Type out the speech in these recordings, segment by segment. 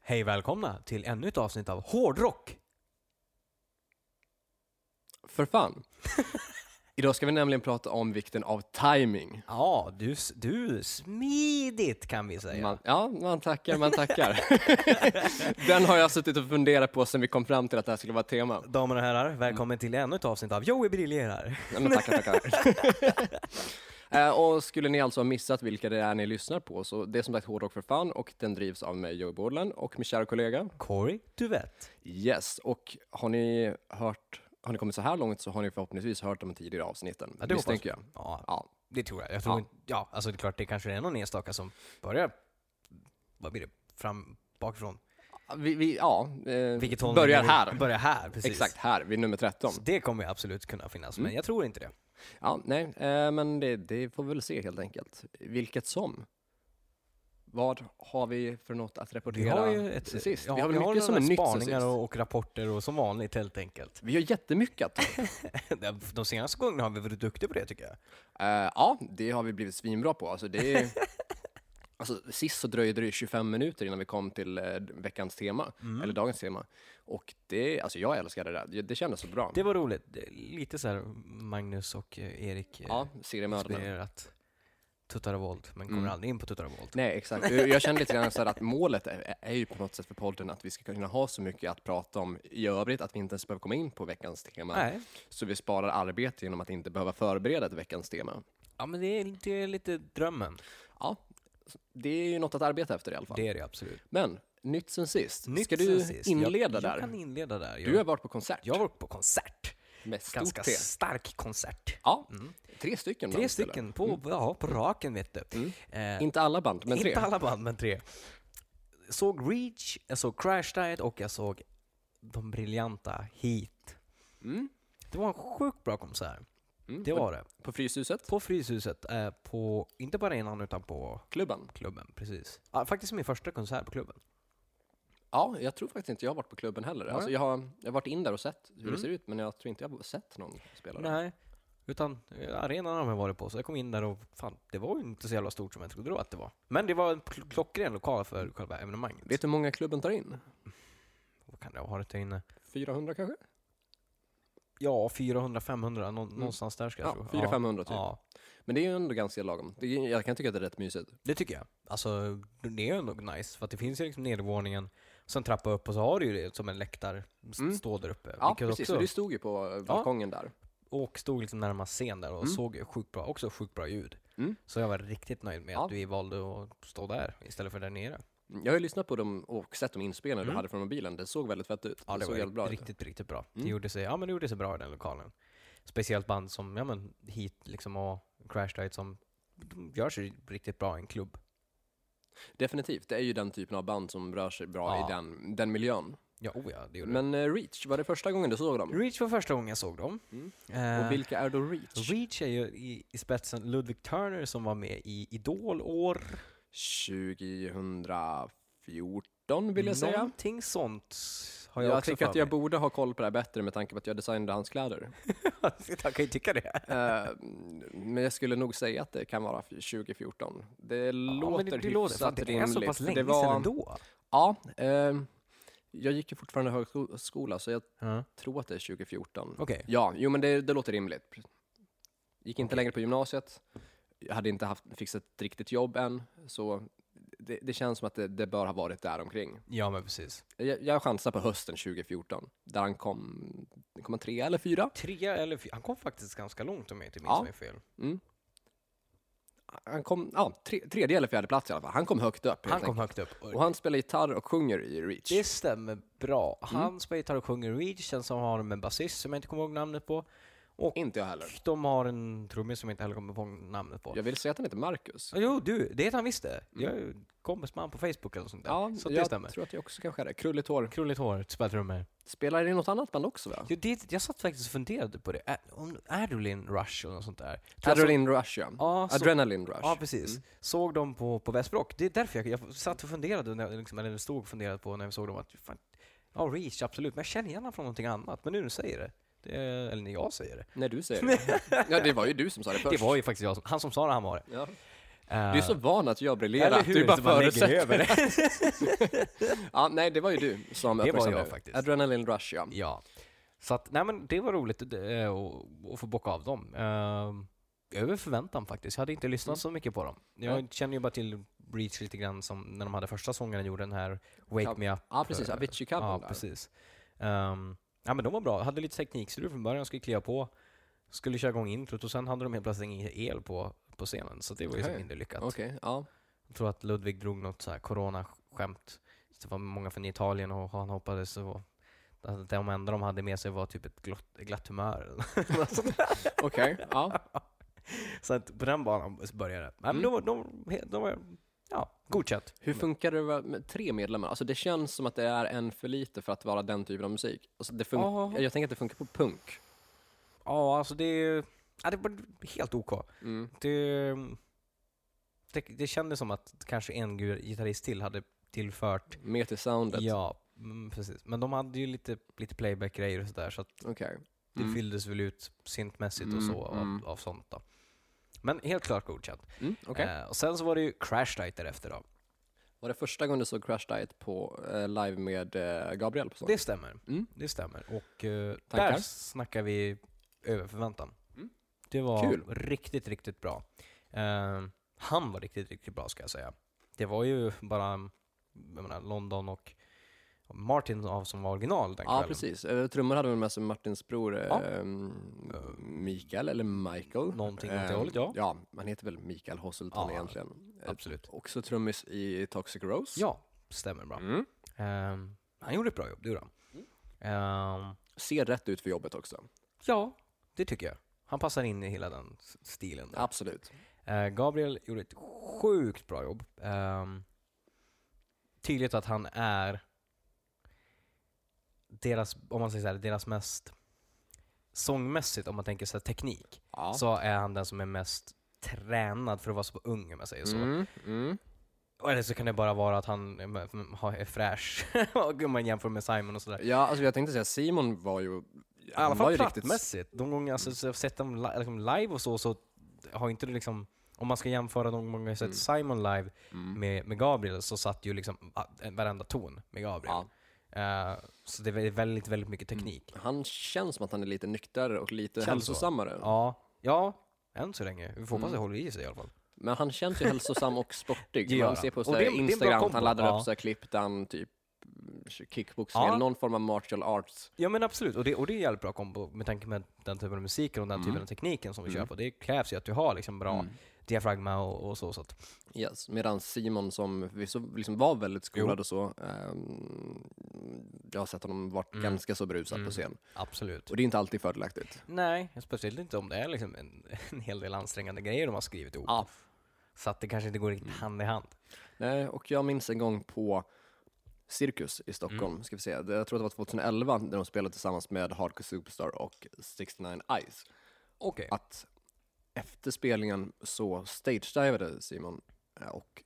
Hej välkomna till ännu ett avsnitt av Hårdrock. För fan. Idag ska vi nämligen prata om vikten av timing. Ja, du, s- du smidigt kan vi säga. Man, ja, man tackar, man tackar. Den har jag suttit och funderat på sen vi kom fram till att det här skulle vara ett tema. Damer och herrar, välkommen till ännu ett avsnitt av Joey briljerar. Nej, men tackar, tackar. Eh, och skulle ni alltså ha missat vilka det är ni lyssnar på, så det är som sagt Hårdrock för fan och den drivs av mig, Joey Bordland, och min kära kollega. Corey Duvett. Yes, och har ni hört, har ni kommit så här långt så har ni förhoppningsvis hört de tidigare avsnitten. Ja, det hoppas misstänker jag. Ja, Ja, det tror jag. Jag tror Ja. inte, ja, alltså det är klart det kanske är någon enstaka som börjar, vad blir det, fram, bakifrån? vi, vi, ja eh, Vilket håll börjar ni vill- här. Börjar här, precis. Exakt här, vid nummer 13. Så det kommer ju absolut kunna finnas, men jag tror inte det. Ja, nej, eh, men det, det får vi väl se helt enkelt. Vilket som. Vad har vi för något att Vi rapportera har ju ett, sen sist? ja, vi har väl mycket som några är nytt sen spaningar sist. och, och rapporter och som vanligt helt enkelt. Vi har jättemycket att ta. De senaste gångerna har vi varit duktiga på det tycker jag. Eh, ja, det har vi blivit svinbra på. Alltså, det är... Alltså, sist så dröjde det 25 minuter innan vi kom till eh, veckans tema, Mm. eller dagens tema. Och det, alltså jag älskade det där. Det, det kändes så bra. Det var roligt. Det är Lite så här Magnus och eh, Erik eh, Ja, seriemördarna. inspirerat tuttar och våld, men Mm. kommer aldrig in på tuttar och våld. Nej, exakt. Jag jag kände lite grann så här att målet är, är ju på något sätt för podden att vi ska kunna ha så mycket att prata om i övrigt att vi inte ens behöver komma in på veckans tema. Nej. Så vi sparar arbete genom att inte behöva förbereda ett veckans tema. Ja, men det är, det är lite drömmen. Ja, det är ju något att arbeta efter i alla fall. Det är det absolut. Men, nytt sen sist. Nytt ska du sen sist. inleda jag, där? Jag kan inleda där. Du har Jag, varit på konsert jag har varit på konsert. med stort Ganska T. stark konsert. Ja, tre stycken. Tre band spelar. stycken på, ja, på raken vet du. Mm. Eh, Inte alla band, men tre. Inte alla band, men tre. Såg Reach, jag såg Crash Diet och jag såg de briljanta Heat. Mm. Det var en sjukt bra konsert. Mm. Det var det. På Fryshuset, På Fryshuset, eh, på, inte på arenan utan på klubben. klubben. Precis. Ja, faktiskt min första konsert på klubben. Ja, jag tror faktiskt inte jag har varit på klubben heller. Nej. Mm. Alltså, jag, har, jag har varit in där och sett hur det ser ut, men jag tror inte jag har sett någon spela där. Nej. Utan eh, arenan har man varit på, så jag kom in där och fan, det var ju inte så jävla stort som jag trodde då att det var. Men det var en kl- klockren lokal för själva evenemanget. Vet du hur många klubben tar in? Vad kan det ha varit där inne? 400 kanske? Ja, 400-500, nå- någonstans där ska jag Mm. Ja, tro. 400-500 typ. Ja, Men det är ju ändå ganska lagom. Det är, jag kan tycka att det är rätt mysigt. Det tycker jag. Alltså, det är ändå nice, för att det finns ju liksom nedervåningen, sen trappa upp och så har du ju det som en läktar Mm. står där uppe. Ja, vilket precis. också- Så du stod ju på eh, balkongen där. och stod liksom närmast scen där och såg sjukt bra, också sjukt bra ljud. Mm. Så jag var riktigt nöjd med Ja. att vi valde att stå där istället för där nere. Jag har ju lyssnat på dem och sett de inspelningar du hade från mobilen. Det såg väldigt fett ut. Mm. Ja, det, såg var jävligt bra bra ut. Mm. riktigt, riktigt bra. Det, gjorde sig, ja, men det gjorde sig bra i den lokalen. Speciellt band som ja, men Heat liksom och Crash Diet som de gör sig riktigt bra i en klubb. Definitivt. Det är ju den typen av band som rör sig bra Ja. i den, den miljön. Ja, oh ja, det gjorde Men eh, Reach, var det första gången du såg dem? det. Reach var första gången jag såg dem. Eh, Mm. Och vilka är då Reach? Reach är ju i, i spetsen Ludwig Turner som var med i Idol år, 2014 vill jag säga. någonting sånt har jag, Jag också tycker att för jag mig. borde ha koll på det här bättre med tanke på att jag designade hans kläder. jag kan ju tycka det. Eh, men jag skulle nog säga att det kan vara 2014. Det låter men det, det låter för hyfsat att det är så rimligt, pass för länge det var- sedan ändå. Ja, eh, jag gick ju fortfarande högskola så jag Ja. tror att det är 2014. Okej. Ja, jo men det, det låter rimligt. Gick inte längre på gymnasiet, jag hade inte haft, fixat ett riktigt jobb än, så det, det känns som att det, det bör ha varit där omkring. Ja, men precis. Jag, jag chansar på hösten 2014, där han kom, kom han tre eller fyra? Trea eller fyra, han kom faktiskt ganska långt om jag inte minns Ja. mig fel. Han kom, ja, tre, tredje eller fjärde plats i alla fall. Han kom högt upp. helt Han kom enkelt. högt upp. Och han spelar gitarr och sjunger i Reach. Det stämmer bra. Han spelar gitarr och sjunger Reach, sen så har de en basist som jag inte kommer ihåg namnet på. Och Inte jag heller. de har en trummis som jag inte heller kommer ihåg namnet på. Jag vill säga att han heter Marcus. Ja, Jo, du, det heter han visst det. Jag är kompis med han på Facebook eller sånt där. Ja, så det jag stämmer. tror att jag också kanske är det. Krulligt hår. Krulligt hår, spelar trummor. Spelar i något annat band också va? Jo, det, jag satt faktiskt och funderade på det. Ä- om- Adrenaline Rush eller något sånt där. Tror jag Adrenaline Rush ja. Ja, Mm. så- Adrenaline Rush. såg- Ja, precis. Såg dem på, på Västbrock. Det är därför jag, jag satt och funderade, när, jag liksom, eller stod och funderade på när vi såg dem att fan, ja, Reach, absolut. Men jag känner igen honom från någonting annat. Men nu när du säger det, det, eller när jag säger det. När du säger det. ja, det var ju du som sa det först. Det Eh, var ju faktiskt jag som, han som sa det, han var det. Ja. Du är så van att jag briljerar. Du bara förutsätter. Ja, nej, det var ju du som var uppmärksammade jag faktiskt. Adrenaline Rush, ja. Ja. Så att, nej men det var roligt eh, att- att få bocka av dem. Eh, Över förväntan faktiskt. Jag hade inte lyssnat så mycket på dem. Jag Mm. Nej. känner ju bara till Breach lite grann som när de hade första sången gjorde den här Wake Ja, Me Up. Ja, precis. eh, Avicii-covern Ja, där. precis. Ehm, ja, men de var bra. Hade lite teknikstrul från början, skulle kliva på, skulle köra igång introt och sen hade de helt plötsligt ingen el på, på scenen. Så det var ju så Okej. mindre lyckat. Okej, ja. Jag tror att Ludvig drog något så här coronaskämt. Så Det var många från Italien och han hoppades och att de enda de hade med sig var typ ett glatt, glatt humör. Okej, ja. så att på den banan började det. Nej, Men de, Mm. var- de, de, de var, ja, godkänt. Hur funkar det med tre medlemmar? Alltså det känns som att det är en för lite för att vara den typen av musik. Alltså det fun- Ja. Jag tänker att det funkar på punk. Ja, alltså det är ja, det var helt OK. Mm. Det, det, det kändes som att kanske en gu- gitarrist till hade tillfört. Mer till soundet. Ja, mm, precis. Men de hade ju lite, lite playback-grejer och sådär. Så att Okej. Det Mm. fylldes väl ut syntmässigt och så Mm, mm. av, av sånt då. Men helt klart godkänt. Mm, okej. Eh, och sen så var det ju Crash Diet därefter då. Var det första gången du såg Crash Diet på eh, live med eh, Gabriel? På sånt? Det stämmer. Mm. Det stämmer. Och eh, Tankar? där snackar vi över förväntan. Mm. Det var Kul. riktigt, riktigt bra. Eh, han var riktigt, riktigt bra ska jag säga. Det var ju bara jag menar, London och Martin av som var original den Ja, kvällen. precis. Eh, Trummor hade väl med sig Martins bror eh, Ja. ehm, Mikael, eller Michael. Någonting åt det Ehm, hållet, ja. Ja, han heter väl Mikael Hosselton Ja, egentligen. Eh, Absolut. Också trummis i Toxic Rose. Ja, stämmer bra. Mm. Eh, han gjorde ett bra jobb, du då? Eh, Ser rätt ut för jobbet också. Ja, det tycker jag. Han passar in i hela den s- stilen. Där. Absolut. Eh, Gabriel gjorde ett sjukt bra jobb. Ehm, tydligt att han är deras, om man säger så här, deras mest sångmässigt, om man tänker så här, teknik, Ja. så är han den som är mest tränad för att vara så ung om jag säger så. Mm, mm. Och Eller så kan det bara vara att han mm, har- är fräsch om man jämför med Simon och sådär. Ja, alltså jag tänkte säga Simon var ju... I han alla var fall ju plattmässigt. De gånger alltså, så jag har sett dem li- liksom live och så, så har inte det liksom... Om man ska jämföra de gånger jag sett Simon live Mm. med, med Gabriel så satt ju liksom ah, en- varenda ton med Gabriel. Ja, Eh, så det är väldigt, väldigt mycket teknik. han känns som att han är lite nyktrare och lite Känns så. hälsosammare. Ja, ja, än så länge. Vi får hoppas Mm. det håller i sig i alla fall. Men han känns ju hälsosam och sportig. Det gör Man han. ser på Och så det här är- det är en bra Instagram att kombo. han laddar Ja. upp så här klipp där han typ kickboxning Ja. eller någon form av martial arts. Ja men absolut, och det, och det är en jävligt bra kombo med tanke på den typen av musiken och den typen av tekniken som vi kör på. Det krävs ju att du har liksom bra diafragma och, och så. så att, Yes. Medan Simon som vi så, liksom var väldigt skolad och så, ehm, jag har sett honom varit Mm. ganska så brusad på scen. absolut. Och det är inte alltid fördelaktigt. Nej, speciellt inte om det är liksom en, en hel del ansträngande grejer de har skrivit ihop. Ja. Så att det kanske inte går riktigt Mm. hand i hand. Nej, och jag minns en gång på Cirkus i Stockholm, ska vi säga. Det- Jag tror att det var 2011, när de spelade tillsammans med Hardcore Superstar och 69 Eyes. Okej. Att efter spelningen så stagedivade Simon eh, och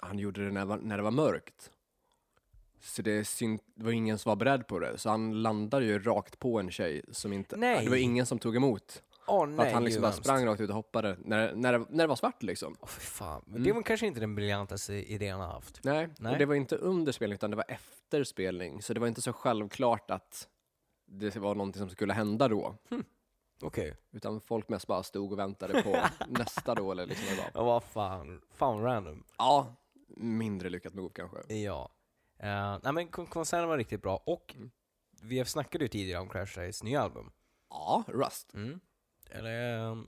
han gjorde det när, det var- när det var mörkt. Så det, syn- det var ingen som var beredd på det, så han landade ju rakt på en tjej som inte... Nej. Det var ingen som tog emot. Åh För nej, att han gud, liksom bara vad sprang rakt ut och hoppade när, när, det, när det var svart liksom. Åh, fy fan. Men Det var kanske inte den briljantaste idén han har haft. Nej, Nej. och det var inte under spelning utan det var efter spelning. Så det var inte så självklart att det var någonting som skulle hända då. Okej. Utan folk mest bara stod och väntade på nästa då eller liksom vad det var. Ja, vad fan. Fan random. Ja, mindre lyckat move kanske. Ja. Eh, nej men kon- konserten var riktigt bra och Mm. vi snackade ju tidigare om Crash Diets nya album. Ja, Rust. Eller, ehm,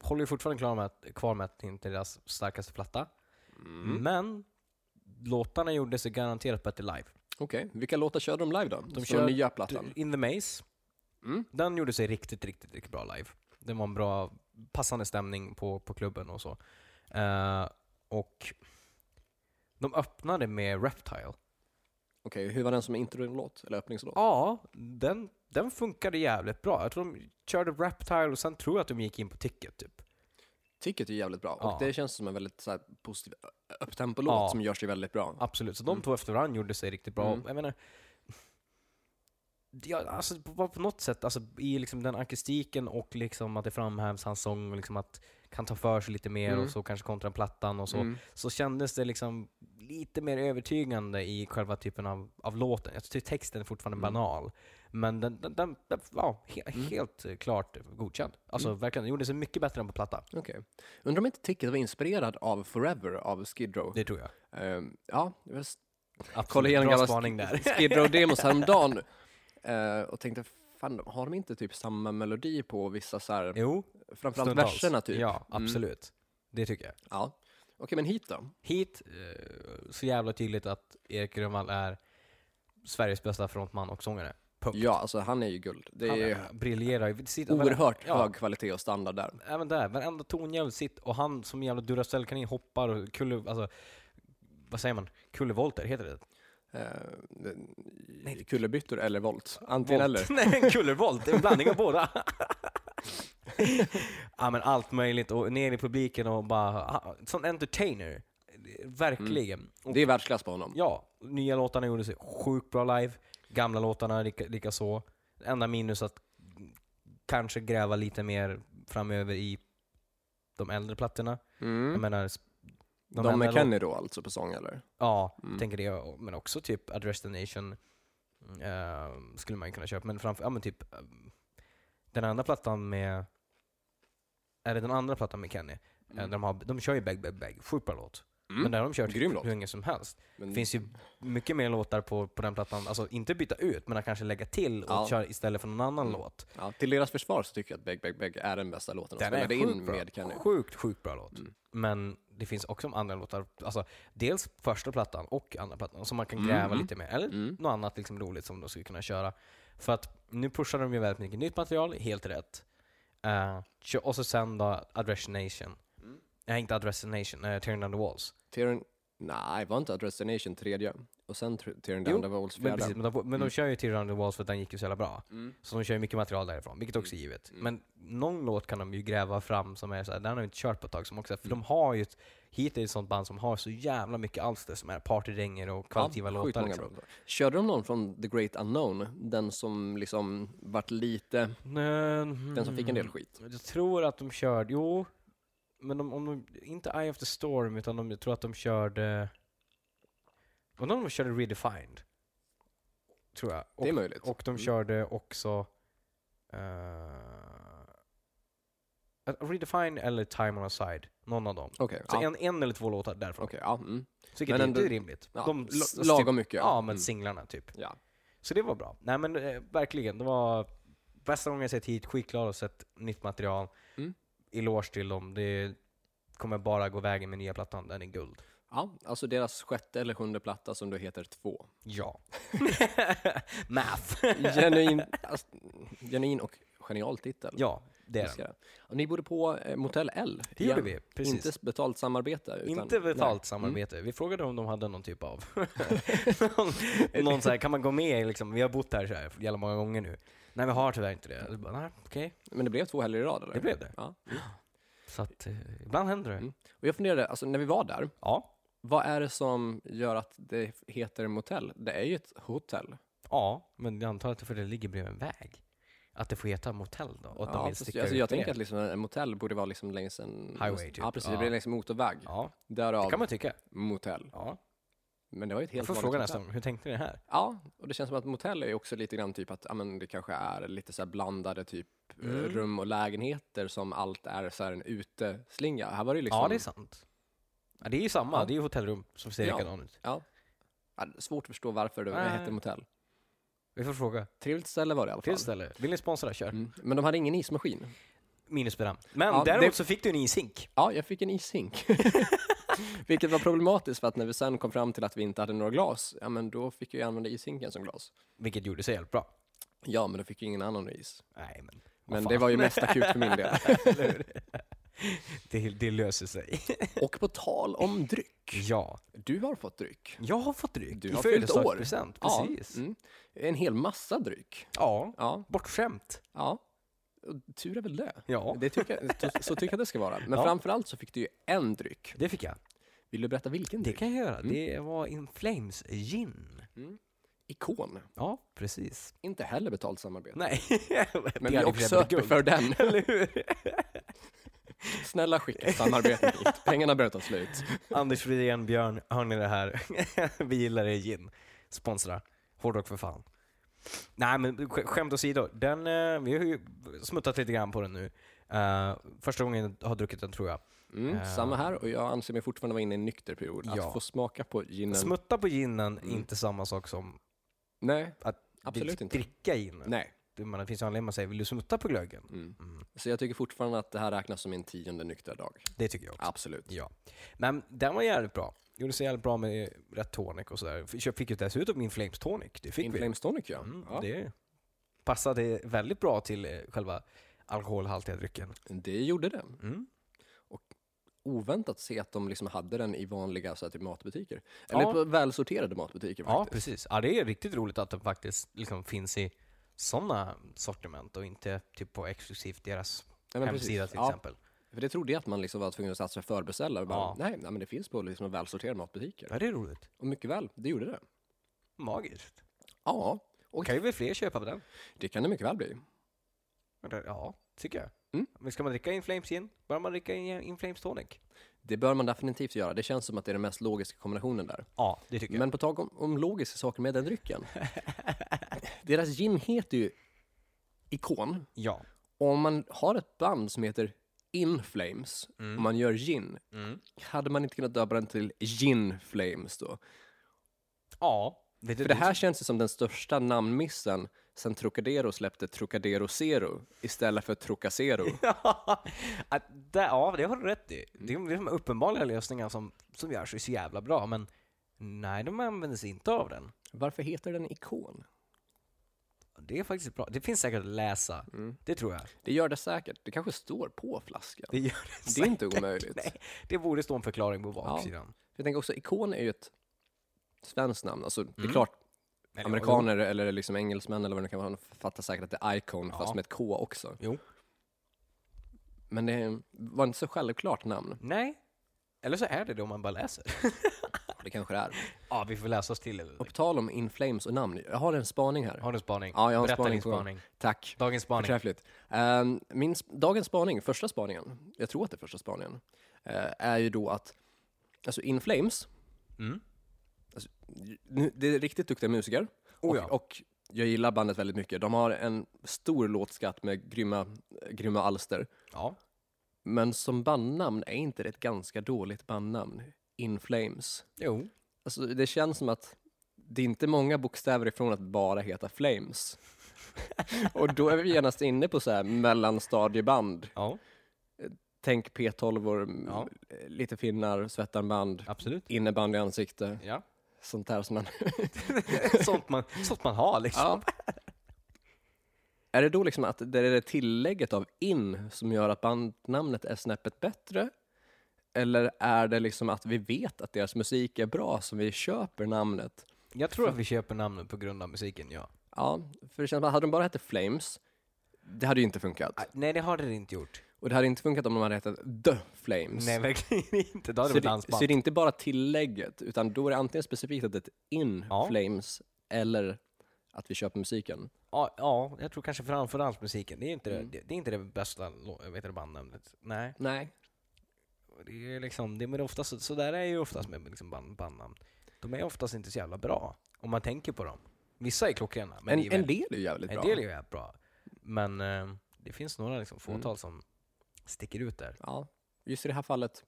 håller ju fortfarande klar med att, kvar med att det inte är deras starkaste platta. Men låtarna gjorde sig garanterat bättre live. Okej, vilka låtar körde de live då? De De kör kör nya plattan. In the Maze. Mm. Den gjorde sig riktigt, riktigt, riktigt bra live. Det var en bra, passande stämning på, på klubben och så. Eh, och de öppnade med Reptile. Okej, hur var den som intro-låt eller öppningslåt? Ja, den, den funkade jävligt bra. Jag tror de körde Reptile och sen tror jag att de gick in på Ticket typ. Ticket är jävligt bra Ja. och det känns som en väldigt så här, positiv ö- upptempo-låt Ja. som gör sig väldigt bra. Absolut, så de två efter varandra gjorde sig riktigt bra. Mm. Jag menar, Ja, alltså på, på något sätt, alltså, i liksom den akustiken och liksom att det framhävs hans sång och liksom att kan ta för sig lite mer Mm. och så kanske kontra plattan och så. Mm. Så kändes det liksom lite mer övertygande i själva typen av, av låten. Jag tycker texten är fortfarande Mm. banal. Men den, den, den, den ja, he, Mm. helt klart godkänd. Alltså verkligen, den gjorde sig mycket bättre än på platta. Okej. Undrar om inte Ticket var inspirerad av Forever av Skid Row. Det tror jag. Ehm, ja, jag s- Absolut. kollade igenom Bra gamla spaning Sk- där. Skid Row-demos häromdagen eh, och tänkte, fan, har de inte typ samma melodi på vissa så här, Jo, framförallt stundtals. verserna typ? Ja, Mm. absolut. Det tycker jag. ja. Okej, men hit då? Hit, eh, så jävla tydligt att Erik Grönvall är Sveriges bästa frontman och sångare. Punkt. Ja, alltså han är ju guld. Det Han är ju är- briljerar ju. Sitt- oerhört Ja. hög kvalitet och standard där. Även där, varenda tonjävel sitt och han som jävla Duracell-kanin hoppar och kulle... Alltså, vad säger man? Kullervolter, heter det? Uh, Eh, kullerbyttor eller volt? Antingen Volt. eller. Nej, en kullervolt. Det är en blandning av båda. ja, men allt möjligt och ner i publiken och bara... ah, Sån entertainer. Mm. Verkligen. Och, Det är världsklass på honom. ja, nya låtarna gjorde sig sjukt bra live. Gamla låtarna lika, lika så. Enda minus att kanske gräva lite mer framöver i de äldre plattorna. Jag Mm. menar, de De enda med låt- Kenny då alltså på sång eller? Ja, Mm. tänker det. och- Men också typ Address the Nation eh, skulle man ju kunna köpa. Men framför, ja men typ eh, den andra plattan med, är det den andra plattan med Kenny? Eh, Mm. De, har, de kör ju Bag Bag Bag, sjukt bra låt. Mm. Men där har de kört Grym låt. hur länge som helst. Men- Det finns ju mycket mer låtar på, på den plattan, alltså inte byta ut, men att kanske lägga till och Ja. köra istället för någon annan Mm. låt. Ja, till deras försvar så tycker jag att Beg Beg Beg är den bästa låten de Den är spelade in sjukt bra. med Kenny. Sjukt, sjukt bra låt. Mm. Men det finns också andra låtar, alltså dels första plattan och andra plattan, som man kan Mm. gräva lite mer. Eller Mm. något annat liksom roligt som de skulle kunna köra. För att nu pushar de ju väldigt mycket nytt material, helt rätt. Eh, kö- och så sen då Address Nation. Nej, inte Address Nation, uh, Tearing Down the Walls. Tyrion, nej, var inte Address the Nation tredje? Och sen tr- Tyrion Jo, Down the Walls Men, fjärde? precis, men, de, men de kör ju Tearing Down the Walls för att den gick ju så jävla bra. Mm. Så de kör ju mycket material därifrån, vilket också är givet. Mm. Men någon låt kan de ju gräva fram som är såhär, den har vi inte kört på ett tag. Som också, för Mm. de har ju ett, hit är det ett sånt band som har så jävla mycket alster som är partydänger och kvalitativa Ja, sjukt låtar. många Liksom. bra låtar. Körde de någon från The Great Unknown? Den som liksom vart lite, Mm. den som fick en del skit. Jag tror att de körde, jo, men de, om de, inte Eye of the Storm, utan de, jag tror att de körde, undrar om de körde Redefined? Tror jag. Och, det är möjligt. och de Mm. körde också eh, Redefine eller Time on our side, någon av dem. Okej, Så ja. en, en eller två låtar därifrån. Okej, ja. Mm. Vilket Men men ändå- inte är rimligt. ja. De, l- s- lagom mycket. Ja, men Mm. singlarna typ. Ja. Så det var bra. Nej men eh, verkligen, det var bästa gången jag sett hit, skitglad och sett nytt material. Mm. Eloge till dem, det kommer bara gå vägen med nya plattan, den är guld. ja, alltså deras sjätte eller sjunde platta som då heter Två. Ja. Math! Genuin, alltså, genuin och genial titel. ja, det är den. Älskar det. Och ni borde på eh, Motel L. Det gjorde igen. vi, precis. Inte betalt samarbete. Utan, Inte betalt Nej. Mm. samarbete. Vi frågade om de hade någon typ av... någon någon så här, kan man gå med? Liksom, vi har bott här så här jävla många gånger nu. Nej, vi har tyvärr inte det. Jag bara, Nej, okej. Men det blev två helger i rad eller? Det blev det. Ja. Så att, eh, ibland händer det. Mm. Och jag funderade, alltså när vi var där, Ja. vad är det som gör att det heter motell? Det är ju ett hotell. Ja, men jag antar att det är för det ligger bredvid en väg. Att det får heta motell då. Och att de ja, vill fast sticka alltså, ut jag med tänker det. att liksom en motell borde vara liksom längs en... Highway, typ. Ja, precis. Ja. Det blir längs en motorväg. Ja, Därav det kan man tycka. motell. Ja. Men det var ju ett Jag helt får vanligt fråga hotell. nästa gång, hur tänkte ni här? Ja, och det känns som att motell är ju också lite grann typ att ja, men det kanske är lite så här blandade typ eh, Mm. rum och lägenheter som allt är så här en uteslinga. Här var det ju liksom... Ja, det är sant. Ja, det är ju samma, Ja. det är ju hotellrum som ser Ja. likadant ut. Ja, det är svårt att förstå varför det Nej. hette motell. Vi får fråga. Trevligt ställe var det i alla fall. Till ställe. Vill ni sponsra? Kör. Mm. Men de hade ingen ismaskin. Minusberöm. Men Ja, däremot det- så fick du en ishink. Ja, jag fick en ishink. Vilket var problematiskt för att när vi sen kom fram till att vi inte hade några glas, ja men då fick jag ju använda ishinken som glas. Vilket gjorde sig jävligt bra. Ja, men då fick ju ingen annan is. Nej men. vad Men fan. det var ju mest akut för min del. Eller hur? det, det löser sig. Och på tal om dryck. ja. Du har fått dryck. Jag har fått dryck Du i har fyllt år. födelsedagspresent. Precis. Ja. Ja, mm. En hel massa dryck. Ja, Bortskämt. ja. Och Tur är väl det. Ja. det tycker jag, så- så tycker jag det ska vara. Men Ja. framförallt så fick du ju en dryck. Det fick jag. Mm. Vill du berätta vilken Det dryck? kan jag göra. Det var In Flames gin. Ikon. Ja, precis. Inte heller betalt samarbete. Nej. Men vi är också öppna för den. Eller hur? Snälla skicka samarbetet dit. Pengarna börjar ta slut. Anders Fridén, Björn, hör ni det här? vi gillar er gin. Sponsra. Hårdrock för fan. Nej men sk- skämt åsido, den, eh, vi har ju smuttat lite grann på den nu. Eh, första gången jag har druckit den tror jag. Mm, Eh. Samma här och jag anser mig fortfarande vara inne i en nykter period. Att Ja. få smaka på ginen. Smutta på ginen är Mm. inte samma sak som Nej, att Absolut vill inte. dricka ginen. nej. Du, men det finns ju anledning man säger, vill du smutta på glöggen? Mm. Mm. Så jag tycker fortfarande att det här räknas som min tionde nyktra dag. Det tycker jag också. Absolut. Ja. Men den var jävligt bra. Gjorde sig jävligt bra med rätt tonic och sådär. F- Jag fick ju dessutom min Flames tonic. Det fick In vi. Flames Tonic ja. Mm, ja. Det... Det passade väldigt bra till eh, själva alkoholhaltiga drycken. gjorde det. Mm. Oväntat se att de liksom hade den i vanliga så här, typ matbutiker. Eller Ja. på välsorterade matbutiker Ja, faktiskt. precis. Ja, det är riktigt roligt att den faktiskt liksom finns i sådana sortiment och inte typ på exklusivt deras Ja, men precis. hemsida till Ja, exempel. För det trodde jag att man liksom var tvungen att satsa och förbeställa. Och Bara, Ja. nej, nej, men det finns på liksom välsorterade matbutiker. Ja, det är roligt. Och mycket väl, det gjorde det. Magiskt. Ja, Och kan ju väl fler köpa på den? det kan det mycket väl bli. Ja, tycker jag. Mm. Men ska man dricka In Flames gin, bör man dricka In, in Flames tonic? Det bör man definitivt göra. Det känns som att det är den mest logiska kombinationen där. Ja, det tycker Men på tal om, om logiska saker med den drycken. Deras gin heter ju Ikon. jag. Ja. Och om man har ett band som heter In Flames och man gör gin, hade man inte kunnat döpa den till Gin Flames då? Ja. Vet du, För det här känns ju som den största namnmissen sen Trocadero släppte Trocadero Zero istället för Trocacero. att det, ja, det har du rätt i. Det Mm. är de uppenbara lösningar som, som görs är så jävla bra, men nej, de använder sig inte av den. Varför heter den Ikon? Det är faktiskt bra. Det finns säkert att läsa. Mm. Det tror jag. Det gör det säkert. Det kanske står på flaskan. Det, gör det, Det är inte säkert. omöjligt. Nej, det borde stå en förklaring på baksidan. Jag tänker också, ikon är ju ett svenskt namn. Alltså, Det är Mm. klart, Eller, amerikaner eller liksom engelsmän eller vad det nu kan vara, de fattar säkert att det är icon Ja. fast med ett K också. Jo. Men det var inte så självklart namn. Nej. Eller så är det det om man bara läser. Det kanske det är. ja, vi får läsa oss till det. Och på tal om In Flames och namn, jag har en spaning här. Har du en spaning? Ja, jag har en Berätta spaning din på gång. spaning. Tack. Dagens spaning. Förträffligt. Ehm, min sp- dagens spaning, första spaningen, jag tror att det är första spaningen, eh, är ju då att alltså In Flames, Mm. alltså, nu- det är riktigt duktiga musiker Oh och, ja. och jag gillar bandet väldigt mycket. De har en stor låtskatt med grymma, grymma alster. Ja. Men som bandnamn är inte det ett ganska dåligt bandnamn? In Flames. Jo. Alltså, det känns som att det är inte många bokstäver ifrån att bara heta Flames. och då är vi genast inne på så här mellanstadieband. Ja, Tänk P12, m- Ja. lite finnar, svettarmband, absolut. innebandy i ansikte, Ja. sånt där som man... sånt, man, sånt man har liksom. ja. Är det då liksom att det är det tillägget av in som gör att bandnamnet är snäppet bättre? Eller är det liksom att vi vet att deras musik är bra som vi köper namnet? Jag tror att vi köper namnen på grund av musiken, ja. Ja, för det känns som att hade de bara hette Flames, det hade ju inte funkat. Ah, Nej, det har det inte gjort. Och det hade inte funkat om de hade hetat The Flames. Nej, verkligen inte. Då hade så, det det, varit så dansband. det är inte bara tillägget, utan då är det antingen specifikt att det är In Ja. Flames eller att vi köper musiken. Ja, ja, jag tror kanske framförallt musiken. Det är inte, det, det, är inte det bästa lå- vet du, bandnamnet. Nej, Nej, det är liksom, det, men det är oftast, så där är ju oftast med liksom band, bandnamn. De är oftast inte så jävla bra, om man tänker på dem. Vissa är klockrena, men det en, är en väl- del är ju jävligt bra. en del är ju jävligt bra. Men eh, det finns några liksom, fåtal som sticker ut där. Ja, just i det här fallet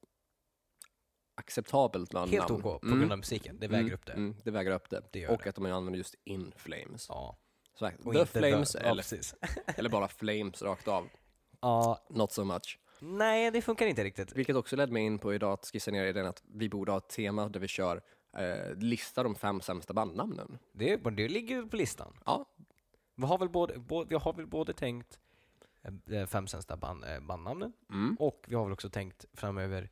acceptabelt bland Helt namn. OK, på Mm, grund av musiken. Det väger mm, upp det. Mm, det väger upp det. Det gör och det. att de använder just In Flames. Ja. Så, här, Och the inte Flames Ja, eller, precis. eller bara Flames rakt av. Ja, Not so much. nej, det funkar inte riktigt. Vilket också ledde mig in på idag att skissa ner idén att vi borde ha ett tema där vi kör eh, lista de fem sämsta bandnamnen. Det, men det ligger ju på listan. Ja, Vi har väl både, både, vi har väl både tänkt eh, fem sämsta band, eh, bandnamnen mm. och vi har väl också tänkt framöver